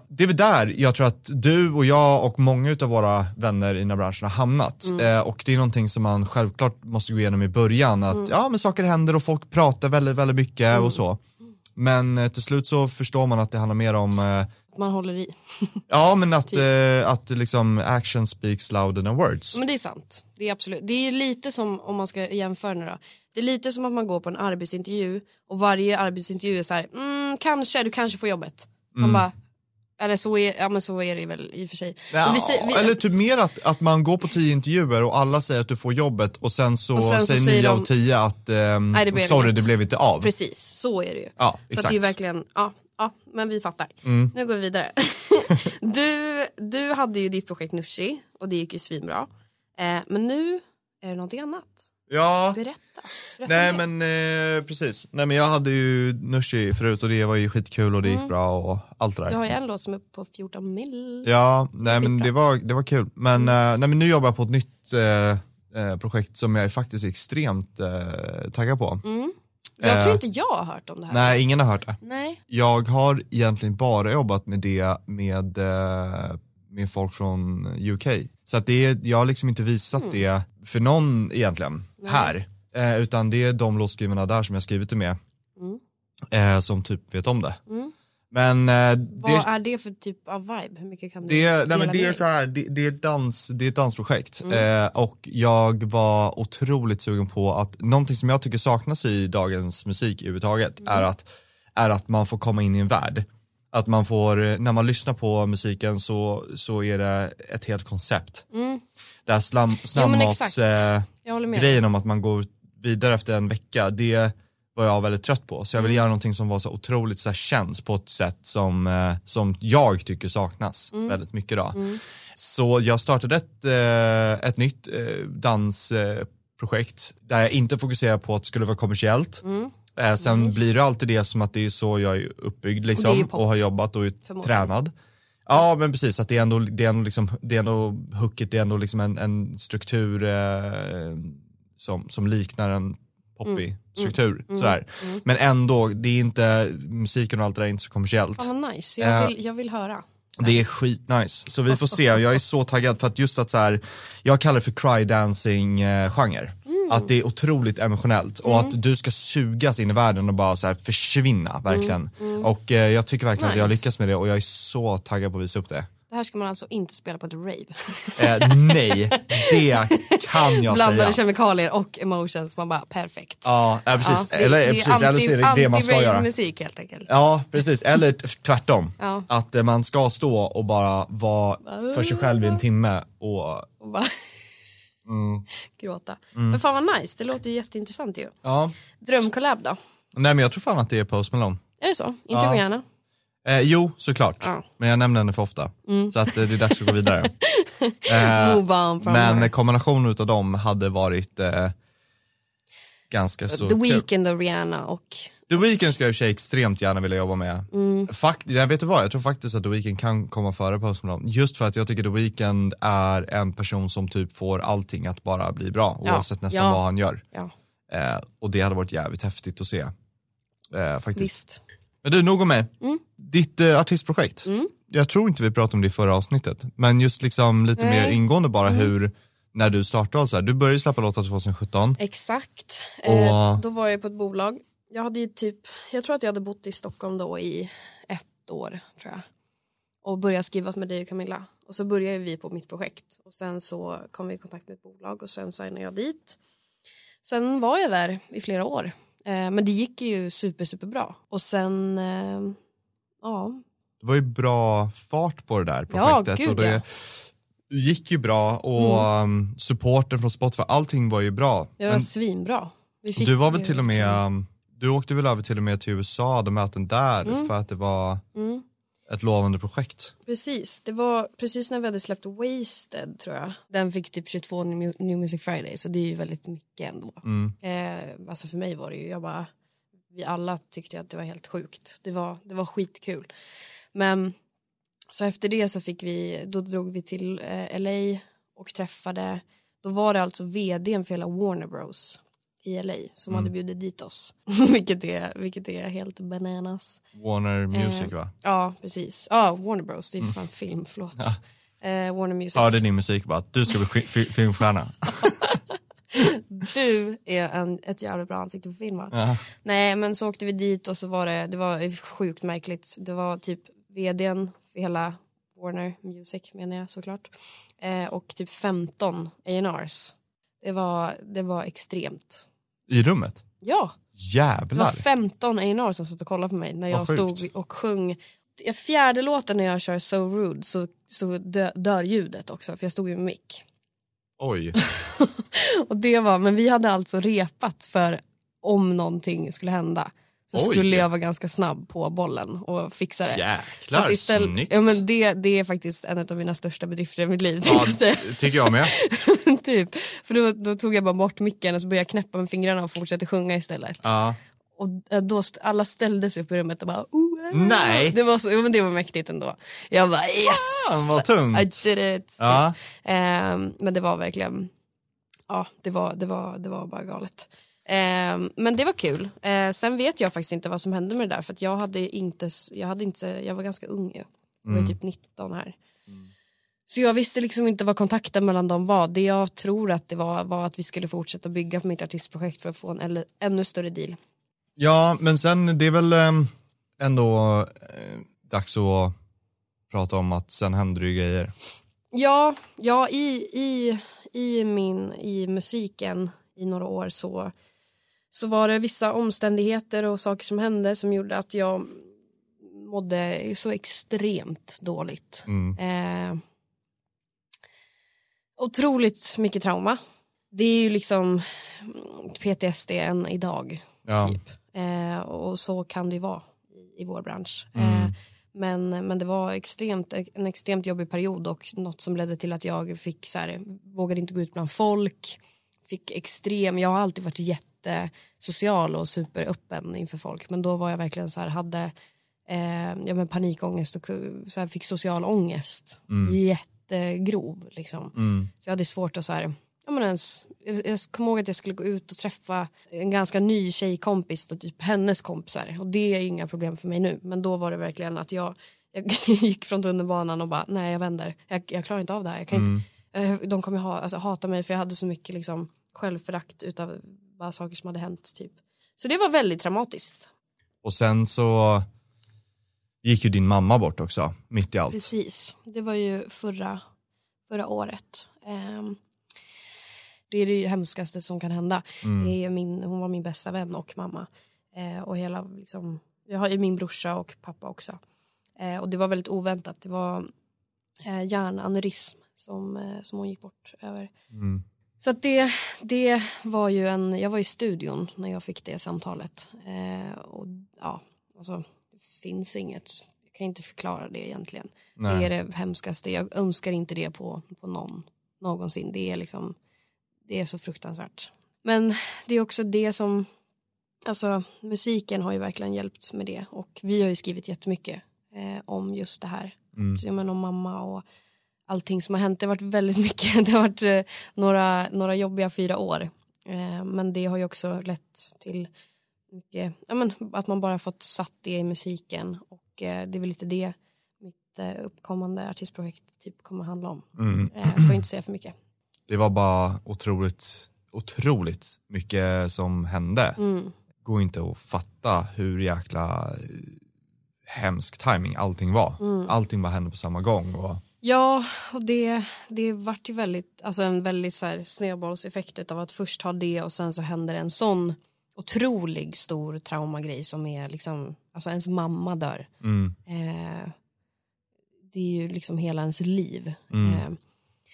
Speaker 1: det är väl där jag tror att du och jag och många av våra vänner i den här branschen har hamnat. Eh, och det är någonting som man självklart måste gå igenom i början. Att ja, men saker händer och folk pratar väldigt, väldigt mycket och så. Men eh, till slut så förstår man att det handlar mer om eh,
Speaker 2: Att Man håller i.
Speaker 1: Ja, men
Speaker 2: Typ.
Speaker 1: att, eh, att liksom action speaks louder than words.
Speaker 2: Men det är sant. Det är absolut. Det är ju lite som om man ska jämföra nu då. Det är lite som att man går på en arbetsintervju och varje arbetsintervju är så här, mm, kanske, du kanske får jobbet. Man
Speaker 1: Mm.
Speaker 2: bara, eller så är, ja, men så är det väl i och för sig. Men vi säger- vi-
Speaker 1: Eller typ mer att, att man går på tio intervjuer och alla säger att du får jobbet och sen så,
Speaker 2: Och sen så
Speaker 1: säger
Speaker 2: säger
Speaker 1: nio
Speaker 2: de-
Speaker 1: av tio att ehm,
Speaker 2: Nej, det blev
Speaker 1: sorry,
Speaker 2: inget.
Speaker 1: det blev inte av.
Speaker 2: Precis, så är det ju.
Speaker 1: Ja,
Speaker 2: så att det är
Speaker 1: exakt. Mm.
Speaker 2: verkligen, ja, ja men vi fattar. Nu går vi vidare. du, du hade ju ditt projekt Nushi och det gick ju svinbra. Eh, men nu är det någonting annat.
Speaker 1: Ja,
Speaker 2: Berätta. Berätta
Speaker 1: nej
Speaker 2: mer.
Speaker 1: men eh, precis. Nej men jag hade ju Nushi förut och det var ju skitkul och det
Speaker 2: Mm.
Speaker 1: gick bra och allt det där.
Speaker 2: Du har ju en låt som är på 14 mil.
Speaker 1: Ja, nej men
Speaker 2: Skitbra. Mm.
Speaker 1: det var, det var kul. Men, eh, nej, men nu jobbar jag på ett nytt eh, eh, projekt som jag är faktiskt extremt eh, taggad på.
Speaker 2: Mm. Jag tror
Speaker 1: eh,
Speaker 2: inte jag har hört om det här.
Speaker 1: Nej, ingen har hört det.
Speaker 2: Nej.
Speaker 1: Jag har egentligen bara jobbat med det med, eh, med folk från UK. Så att det är, jag har liksom inte visat det för någon egentligen här. Eh, utan det är de låtskrivarna där som jag skrivit det med. Eh, som typ vet om det. Men eh,
Speaker 2: Vad
Speaker 1: det,
Speaker 2: är det för typ av vibe? Hur mycket kan du
Speaker 1: det,
Speaker 2: dela
Speaker 1: nej, men det,
Speaker 2: med
Speaker 1: är
Speaker 2: dig?
Speaker 1: så här, det, det, är dans, det är ett dansprojekt.
Speaker 2: Mm.
Speaker 1: Eh, och jag var otroligt sugen på att någonting som jag tycker saknas i dagens musik överhuvudtaget
Speaker 2: Mm.
Speaker 1: är, att, är att man får komma in i en värld. Att man får, eh, när man lyssnar på musiken så, så är det ett helt koncept. Det här slam,
Speaker 2: Mm. Jo, men
Speaker 1: snabbmats...
Speaker 2: exakt.
Speaker 1: eh,
Speaker 2: Jag håller med.
Speaker 1: grejen om att man går vidare efter en vecka, det var jag väldigt trött på. Så jag ville göra någonting som var så otroligt så här, känns på ett sätt som, eh, som jag tycker saknas
Speaker 2: Mm.
Speaker 1: väldigt mycket idag. Så jag startade ett, eh, ett nytt eh, dansprojekt där jag inte fokuserar på att det skulle vara kommersiellt.
Speaker 2: Mm.
Speaker 1: Eh, sen blir det alltid det som att det är så jag är uppbyggd
Speaker 2: Och det är
Speaker 1: liksom,
Speaker 2: ju
Speaker 1: och,
Speaker 2: pop,
Speaker 1: har jobbat och är
Speaker 2: förmodligen.
Speaker 1: tränad. Ja men precis, att det är ändå, det är ändå, liksom, det är ändå hookigt, det är ändå liksom en, en struktur eh, som, som liknar en
Speaker 2: Mm.
Speaker 1: hobbystruktur. Sådär. Men ändå, det är inte, musiken och allt det där är inte så kommersiellt.
Speaker 2: Fan vad nice, jag
Speaker 1: Eh.
Speaker 2: vill, jag vill höra.
Speaker 1: Det är skitnice. Så vi får se. Jag är så taggad för att just att så här, jag kallar det för cry dancing eh, genre.
Speaker 2: Mm.
Speaker 1: Att det är otroligt emotionellt och att du ska sugas in i världen och bara så här försvinna verkligen. Och eh, jag tycker verkligen att jag
Speaker 2: Mm. Nice.
Speaker 1: lyckas med det och jag är så taggad på att visa upp det.
Speaker 2: Det här ska man alltså inte spela på ett rave.
Speaker 1: Eh, nej, det kan jag
Speaker 2: Blandade
Speaker 1: säga.
Speaker 2: kemikalier och emotions, man bara perfekt.
Speaker 1: Ja, eh, precis.
Speaker 2: Ja,
Speaker 1: eller, eh, precis. eller så är det det man ska
Speaker 2: anti-rave
Speaker 1: göra.
Speaker 2: musik helt enkelt.
Speaker 1: Ja, precis. Eller t- tvärtom.
Speaker 2: Ja.
Speaker 1: Att eh, man ska stå och bara vara för sig själv i en timme och
Speaker 2: Och bara
Speaker 1: Mm.
Speaker 2: gråta. Men fan vad nice, det låter ju jätteintressant ju.
Speaker 1: ja.
Speaker 2: Drömcollab då?
Speaker 1: Nej men jag tror fan att det är Post Malone.
Speaker 2: Är det så? Inte
Speaker 1: Ja.
Speaker 2: Rihanna?
Speaker 1: Eh, jo, såklart.
Speaker 2: Ja. Mm.
Speaker 1: Men jag nämner henne för ofta. Så att eh, det är dags att gå vidare.
Speaker 2: Move on from
Speaker 1: Äh, Men
Speaker 2: her.
Speaker 1: kombinationen utav dem hade varit eh, ganska så
Speaker 2: The
Speaker 1: kul.
Speaker 2: Weeknd och Rihanna och
Speaker 1: The Weeknd skulle jag i och för sig extremt gärna vilja jobba med.
Speaker 2: Mm.
Speaker 1: Fakt, jag vet du vad, jag tror faktiskt att The Weeknd kan komma före Post Malone. Just för att jag tycker The Weeknd är en person som typ får allting att bara bli bra.
Speaker 2: Ja.
Speaker 1: Oavsett nästan
Speaker 2: Ja.
Speaker 1: vad han gör.
Speaker 2: ja,
Speaker 1: Eh, och det hade varit jävligt häftigt att se. Eh, faktiskt.
Speaker 2: visst. Mm.
Speaker 1: Men du, nog om mig. Ditt eh, artistprojekt. Jag tror inte vi pratade om det i förra avsnittet, men just liksom lite
Speaker 2: Nej. Mm.
Speaker 1: mer ingående bara hur, när du startade och så här. Du började släppa låtar 2017.
Speaker 2: Exakt.
Speaker 1: Och-
Speaker 2: Eh, då var jag på ett bolag. Jag hade ju typ, jag tror att jag hade bott i Stockholm då i ett år tror jag. Och började skriva med dig och Camilla. Och så började vi på mitt projekt. Och sen så kom vi i kontakt med ett bolag och sen signade jag dit. Sen var jag där i flera år. Eh, men det gick ju super, super bra. Och sen, eh, ja,
Speaker 1: Det var ju bra fart på det där
Speaker 2: Ja,
Speaker 1: projektet
Speaker 2: gud,
Speaker 1: och det gick ju bra och um, supporten från Spotify, allting var ju bra.
Speaker 2: det var
Speaker 1: Men
Speaker 2: svinbra. Vi fick
Speaker 1: du var väl
Speaker 2: ju
Speaker 1: till och
Speaker 2: liksom-
Speaker 1: med, um, du åkte väl över till och med till USA, hade möten där för att det var
Speaker 2: Mm.
Speaker 1: ett lovande projekt.
Speaker 2: Precis, det var precis när vi hade släppt Wasted tror jag. Den fick typ 22 New New Music Friday så det är ju väldigt mycket ändå.
Speaker 1: Mm.
Speaker 2: Eh, alltså för mig var det ju, jag bara, vi alla tyckte att det var helt sjukt. Det var, det var skitkul. Men så efter det så fick vi, då drog vi till eh, LA och träffade, då var det alltså vdn för hela Warner Bros i LA som hade bjudit dit oss. vilket, är, vilket är helt bananas. Eh.
Speaker 1: Warner Music va?
Speaker 2: Ja, precis. Ja, Warner Bros. Det är fan film, förlåt. Eh, Warner Music.
Speaker 1: Hörde din musik bara, att du ska bli sk- fi- filmstjärna.
Speaker 2: Du är en, ett jävla bra ansikte på film va?
Speaker 1: Ja.
Speaker 2: Nej, men så åkte vi dit och så var det, det var sjukt märkligt. Det var typ vdn för hela Warner Music menar jag såklart. Eh, och typ 15 A&Rs. Det var, det var extremt.
Speaker 1: I rummet?
Speaker 2: Ja, Det var
Speaker 1: Jävlar.
Speaker 2: 15 A&R som satt och kollade på mig när jag
Speaker 1: Vad sjukt.
Speaker 2: stod och sjöng. I Fjärde låten när jag kör So Rude så, så dö, dör ljudet också för jag stod ju med mick.
Speaker 1: Oj.
Speaker 2: Och det var, men vi hade alltså repat för om någonting skulle hända så
Speaker 1: Oj.
Speaker 2: skulle jag vara ganska snabb på bollen och fixa det. Så
Speaker 1: Jäklar,
Speaker 2: att istället-
Speaker 1: snyggt.
Speaker 2: ja, men det, det är faktiskt en av mina största bedrifter i mitt liv.
Speaker 1: Ja,
Speaker 2: tänkte jag säga.
Speaker 1: det tycker jag med.
Speaker 2: typ. För då, då tog jag bara bort micken och så började jag knäppa med fingrarna och fortsatte sjunga istället.
Speaker 1: Ja.
Speaker 2: Och eh, då st- alla ställde sig upp i rummet och bara "Oh, eh."
Speaker 1: Nej.
Speaker 2: Det var, så, jo, men det var mäktigt ändå. Jag bara yes!
Speaker 1: Fan vad tungt.
Speaker 2: I did it!
Speaker 1: Ja.
Speaker 2: Ehm, men det var verkligen, ja det var, det var, det var bara galet. Ehm, men det var kul. Eh, sen vet jag faktiskt inte vad som hände med det där för att jag hade inte, s- jag hade inte, jag var ganska ung ju. Jag var
Speaker 1: Mm.
Speaker 2: typ 19 här. Så jag visste liksom inte vad kontakten mellan dem var. Det jag tror att det var var att vi skulle fortsätta bygga på mitt artistprojekt för att få en eller, ännu större deal.
Speaker 1: Ja, men sen det är väl ehm, ändå eh, dags att prata om att sen händer det ju grejer.
Speaker 2: Ja, ja i, i, i, min, i musiken i några år så, så var det vissa omständigheter och saker som hände som gjorde att jag mådde så extremt dåligt.
Speaker 1: Mm.
Speaker 2: Eh, otroligt mycket trauma. Det är ju liksom PTSD än idag.
Speaker 1: Ja.
Speaker 2: Typ. Eh, och så kan det ju vara i, i vår bransch. Eh,
Speaker 1: Mm.
Speaker 2: men, men det var extremt, en extremt jobbig period och något som ledde till att jag fick så här, vågade inte gå ut bland folk. Fick extrem, jag har alltid varit jättesocial och superöppen inför folk men då var jag verkligen så här, hade eh, ja, men panikångest och ku- så här, fick social ångest. Jättegrov liksom.
Speaker 1: Mm.
Speaker 2: Så jag hade svårt att så här, jag, menar, ens, jag, jag kommer ihåg att jag skulle gå ut och träffa en ganska ny tjejkompis och typ hennes kompisar och det är inga problem för mig nu men då var det verkligen att jag, jag gick från tunnelbanan och bara nej jag vänder, jag, jag klarar inte av det här. Jag kan inte, eh, de kommer ha, alltså, hata mig för jag hade så mycket liksom, självförakt utav bara saker som hade hänt typ. Så det var väldigt traumatiskt.
Speaker 1: Och sen så gick ju din mamma bort också, mitt i allt.
Speaker 2: Precis, det var ju förra, förra året. Ehm, det är det ju hemskaste som kan hända.
Speaker 1: Mm.
Speaker 2: Det är min, hon var min bästa vän och mamma. Eh, och hela, liksom, jag har ju min brorsa och pappa också. Eh, och det var väldigt oväntat. Det var eh, hjärnaneurysm som, eh, som hon gick bort över.
Speaker 1: Mm.
Speaker 2: Så att det, det var ju en, jag var i studion när jag fick det samtalet. Eh, och ja, alltså, det finns inget, jag kan inte förklara det egentligen. Det
Speaker 1: Nej.
Speaker 2: är det hemskaste. Jag önskar inte det på, på någon någonsin. Det är liksom det är så fruktansvärt. Men det är också det som alltså musiken har ju verkligen hjälpt med det och vi har ju skrivit jättemycket eh, om just det här.
Speaker 1: Mm.
Speaker 2: Så jag menar om mamma och allting som har hänt. Det har varit väldigt mycket. Det har varit eh, några, några jobbiga fyra år. Eh, men det har ju också lett till mycket, ja, men, att man bara fått satt det i musiken. Och eh, det är väl lite det mitt eh, uppkommande artistprojekt typ kommer handla om.
Speaker 1: Mm.
Speaker 2: Eh, får inte säga för mycket.
Speaker 1: Det var bara otroligt, otroligt mycket som hände.
Speaker 2: Mm.
Speaker 1: Går inte att fatta hur jäkla eh, hemsk timing allting var.
Speaker 2: Mm.
Speaker 1: Allting bara hände på samma gång. Och,
Speaker 2: Ja, och det, det vart ju väldigt, alltså en väldigt så här snöbollseffekt av att först ha det och sen så händer en sån otrolig stor traumagrej som är liksom, alltså ens mamma dör.
Speaker 1: mm.
Speaker 2: Eh, det är ju liksom hela ens liv.
Speaker 1: Mm.
Speaker 2: Eh,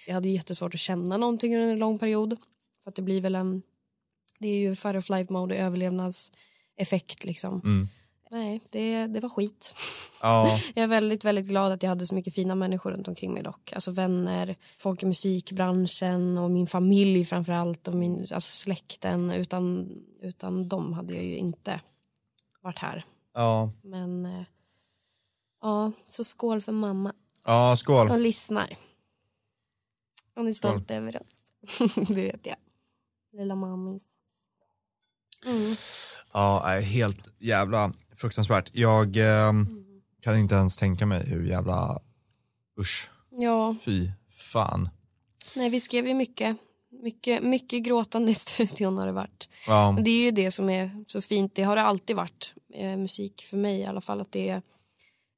Speaker 2: jag hade ju jättesvårt att känna någonting under en lång period. För att det blir väl en, det är ju fight of life mode, överlevnadseffekt liksom.
Speaker 1: Mm.
Speaker 2: Nej, det, det var skit.
Speaker 1: Ja,
Speaker 2: Jag är väldigt, väldigt glad att jag hade så mycket fina människor runt omkring mig dock. Alltså vänner, folk i musikbranschen och min familj framför allt och min alltså släkten. Utan, utan dem hade jag ju inte varit här.
Speaker 1: ja.
Speaker 2: Men eh, ja, så skål för mamma.
Speaker 1: ja skål.
Speaker 2: Hon lyssnar. Hon är stolt över oss. det vet jag. Lilla mamma. Mm.
Speaker 1: Ja, nej, helt jävla fruktansvärt. Jag eh, kan inte ens tänka mig hur jävla, usch,
Speaker 2: Ja,
Speaker 1: fy fan.
Speaker 2: nej, vi skrev ju mycket. Mycket, mycket gråtande i studion har det varit.
Speaker 1: Ja,
Speaker 2: Och Det är ju det som är så fint. Det har det alltid varit. Eh, musik för mig i alla fall. Att det är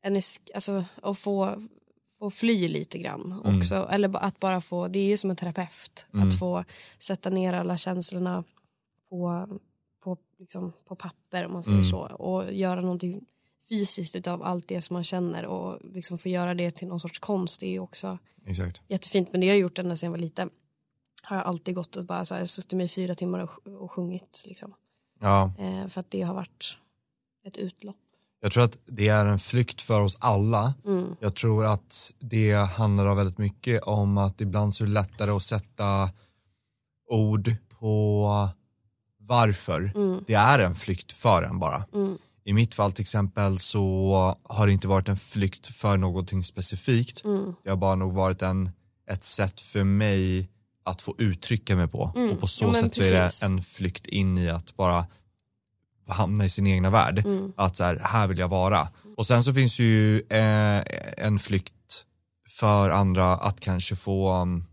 Speaker 2: en, es- alltså, att få, få fly lite grann.
Speaker 1: Mm.
Speaker 2: Också. Eller ba- att bara få, det är ju som en terapeut.
Speaker 1: Mm.
Speaker 2: Att få sätta ner alla känslorna på, på, liksom, på papper om man säger
Speaker 1: Mm.
Speaker 2: så. Och göra någonting fysiskt utav allt det som man känner. Och liksom få göra det till någon sorts konst. Det är ju också
Speaker 1: exakt.
Speaker 2: jättefint. Men det har jag gjort ända sedan jag var liten. Har jag alltid gått och bara så här, suttit mig i fyra timmar och, sj- och sjungit. Liksom.
Speaker 1: Ja,
Speaker 2: Eh, för att det har varit ett utlopp.
Speaker 1: jag tror att det är en flykt för oss alla.
Speaker 2: Mm.
Speaker 1: Jag tror att det handlar väldigt mycket om att ibland så är det lättare att sätta ord på varför
Speaker 2: Mm.
Speaker 1: det är en flykt för en bara.
Speaker 2: Mm.
Speaker 1: I mitt fall till exempel så har det inte varit en flykt för någonting specifikt.
Speaker 2: Mm.
Speaker 1: Det har bara nog varit en, ett sätt för mig att få uttrycka mig på.
Speaker 2: Mm,
Speaker 1: Och på så
Speaker 2: ja, men
Speaker 1: sätt så är
Speaker 2: precis.
Speaker 1: det en flykt in i att bara hamna i sin egna värld.
Speaker 2: Mm.
Speaker 1: Att så här, här vill jag vara. Och sen så finns ju eh, en flykt för andra att kanske få, um,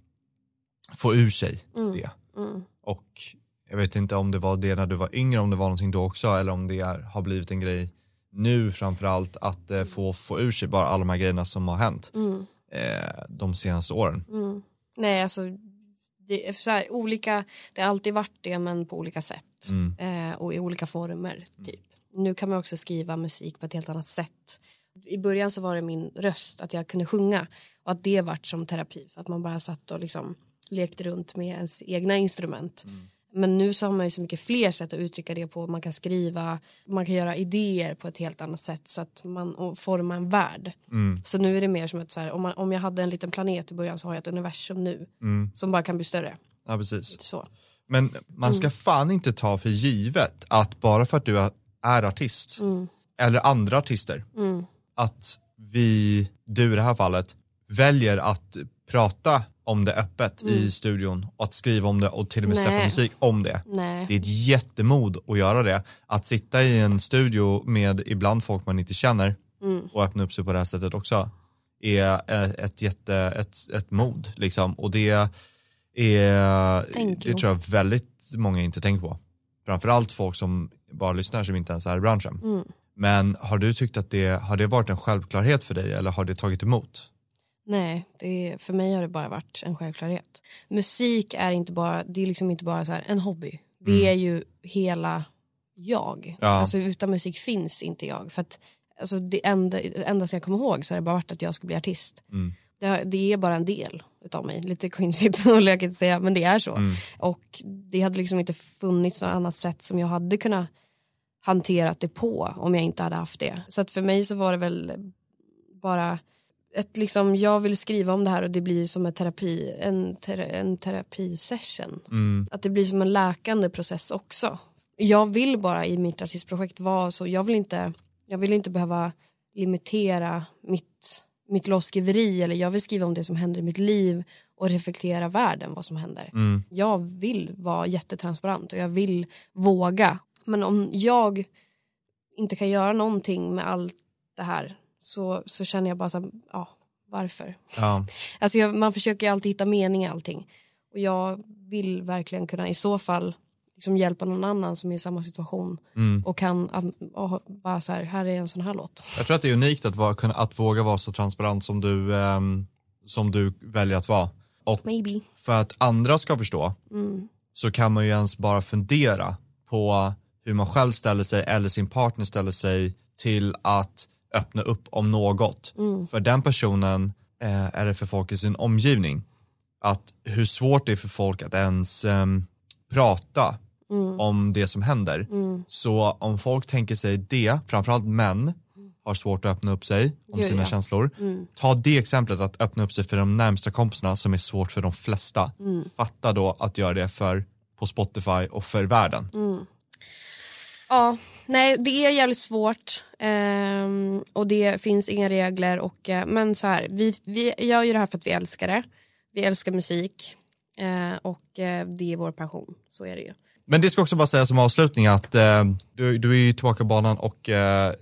Speaker 1: få ur sig
Speaker 2: Mm.
Speaker 1: det.
Speaker 2: Mm.
Speaker 1: Och jag vet inte om det var det när du var yngre, om det var någonting då också eller om det är, har blivit en grej nu framförallt att eh, få, få ur sig bara alla de här grejerna som har hänt
Speaker 2: Mm.
Speaker 1: eh, de senaste åren.
Speaker 2: Mm. Nej, alltså det är så här, olika, det har alltid varit det men på olika sätt
Speaker 1: Mm.
Speaker 2: eh, och i olika former typ. Nu kan man också skriva musik på ett helt annat sätt. I början så var det min röst, att jag kunde sjunga och att det vart som terapi för att man bara satt och liksom lekte runt med ens egna instrument. Men nu så har man ju så mycket fler sätt att uttrycka det på. Man kan skriva, man kan göra idéer på ett helt annat sätt så att man och forma en värld.
Speaker 1: Mm.
Speaker 2: Så nu är det mer som ett så här, om, man, om jag hade en liten planet i början så har jag ett universum nu
Speaker 1: Mm.
Speaker 2: som bara kan bli större.
Speaker 1: Ja, precis.
Speaker 2: Så.
Speaker 1: Men man
Speaker 2: Mm.
Speaker 1: ska fan inte ta för givet att bara för att du är- är
Speaker 2: Mm.
Speaker 1: artist eller andra artister att vi, du i det här fallet, väljer att prata om det öppet i studion och att skriva om det och till och med släppa
Speaker 2: Mm. Nej.
Speaker 1: musik om det.
Speaker 2: Nej.
Speaker 1: Det är ett jättemod att göra det. Att sitta i en studio med ibland folk man inte känner och öppna upp sig på det här sättet också är eh, ett jätte, ett, ett mod liksom. Och det är,
Speaker 2: Tänk
Speaker 1: det
Speaker 2: på.
Speaker 1: tror jag väldigt många inte tänker på. Framförallt folk som bara lyssnar som inte ens är i branschen. Men har du tyckt att det, har det varit en självklarhet för dig eller har det tagit emot?
Speaker 2: Nej, det är, för mig har det bara varit en självklarhet. Musik är inte bara, det är liksom inte bara så här en hobby. Det är ju hela jag.
Speaker 1: Ja.
Speaker 2: Alltså utan musik finns inte jag. För att alltså, det enda, det enda som jag kommer ihåg så har det bara varit att jag ska bli artist. Det, har- det är bara en del utav mig. Lite cringeigt och lökigt att säga, men det är så. Och det hade liksom inte funnits något annat sätt som jag hade kunnat hanterat det på om jag inte hade haft det. Så att för mig så var det väl bara ett liksom, jag vill skriva om det här och det blir som en terapi, en, ter, en terapisession. Att det blir som en läkande process också. Jag vill bara i mitt artistprojekt vara så, jag vill inte, jag vill inte behöva limitera mitt, mitt låtskriveri eller jag vill skriva om det som händer i mitt liv och reflektera världen vad som händer. Jag vill vara jättetransparent och jag vill våga. Men om jag inte kan göra någonting med allt det här så, så känner jag bara så här, ja, varför?
Speaker 1: Ja.
Speaker 2: Alltså jag, man försöker ju alltid hitta mening i allting. Och jag vill verkligen kunna i så fall liksom hjälpa någon annan som är i samma situation och kan um, och bara så här, här är en sån här låt.
Speaker 1: Jag tror att det är unikt att, vara, kunna- att våga vara så transparent som du, ehm, som du väljer att vara. Och
Speaker 2: Maybe.
Speaker 1: för att andra ska förstå så kan man ju ens bara fundera på hur man själv ställer sig eller sin partner ställer sig till att öppna upp om något för den personen eh, eller för folk i sin omgivning. Att hur svårt det är för folk att ens ehm, prata
Speaker 2: Mm.
Speaker 1: om det som händer. Så om folk tänker sig det, framförallt män har svårt att öppna upp sig om
Speaker 2: Ja,
Speaker 1: sina
Speaker 2: ja. Mm.
Speaker 1: känslor. Ta det exemplet att öppna upp sig för de närmsta kompisarna som är svårt för de flesta.
Speaker 2: Mm.
Speaker 1: Fatta då att göra det för på Spotify och för världen.
Speaker 2: Mm. Ja, nej det är jävligt svårt ehm, och det finns inga regler och eh, men så här, vi, vi gör ju det här för att vi älskar det. Vi älskar musik eh, och eh, det är vår passion, så är det ju.
Speaker 1: Men det ska också bara säga som avslutning att eh, du, du är ju tillbaka på banan och eh,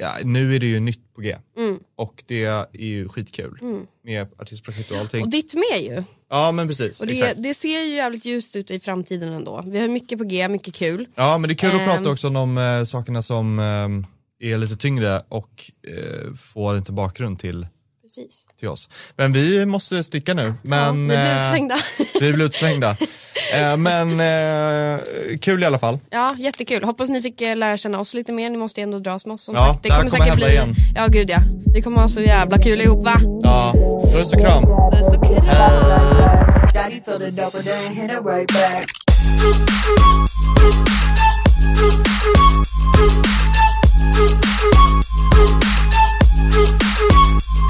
Speaker 1: ja, nu är det ju nytt på G.
Speaker 2: Mm.
Speaker 1: Och det är ju skitkul med artistprojekt och allting.
Speaker 2: Och ditt med ju.
Speaker 1: ja men precis,
Speaker 2: Och det,
Speaker 1: exakt.
Speaker 2: det ser ju jävligt ljust ut i framtiden ändå. Vi har mycket på G, mycket kul.
Speaker 1: Ja, men det är kul att
Speaker 2: Ehm.
Speaker 1: prata också om de eh, sakerna som ehm, är lite tyngre och eh, får lite bakgrund till,
Speaker 2: Precis.
Speaker 1: till oss. Men vi måste sticka nu. Men,
Speaker 2: vi blir
Speaker 1: eh,
Speaker 2: utslängda.
Speaker 1: vi blev utslängda. Eh, men eh, kul i alla fall.
Speaker 2: ja, jättekul. Hoppas ni fick eh, lära känna oss lite mer. Ni måste ju ändå dras med oss som
Speaker 1: Ja,
Speaker 2: sagt.
Speaker 1: det här kommer hända igen.
Speaker 2: Ja, gud ja. Vi kommer ha så jävla kul ihop va?
Speaker 1: Ja, puss och kram.
Speaker 2: Puss och kram.
Speaker 3: Daddy filled it up, but then hit it right back.
Speaker 4: Thank you.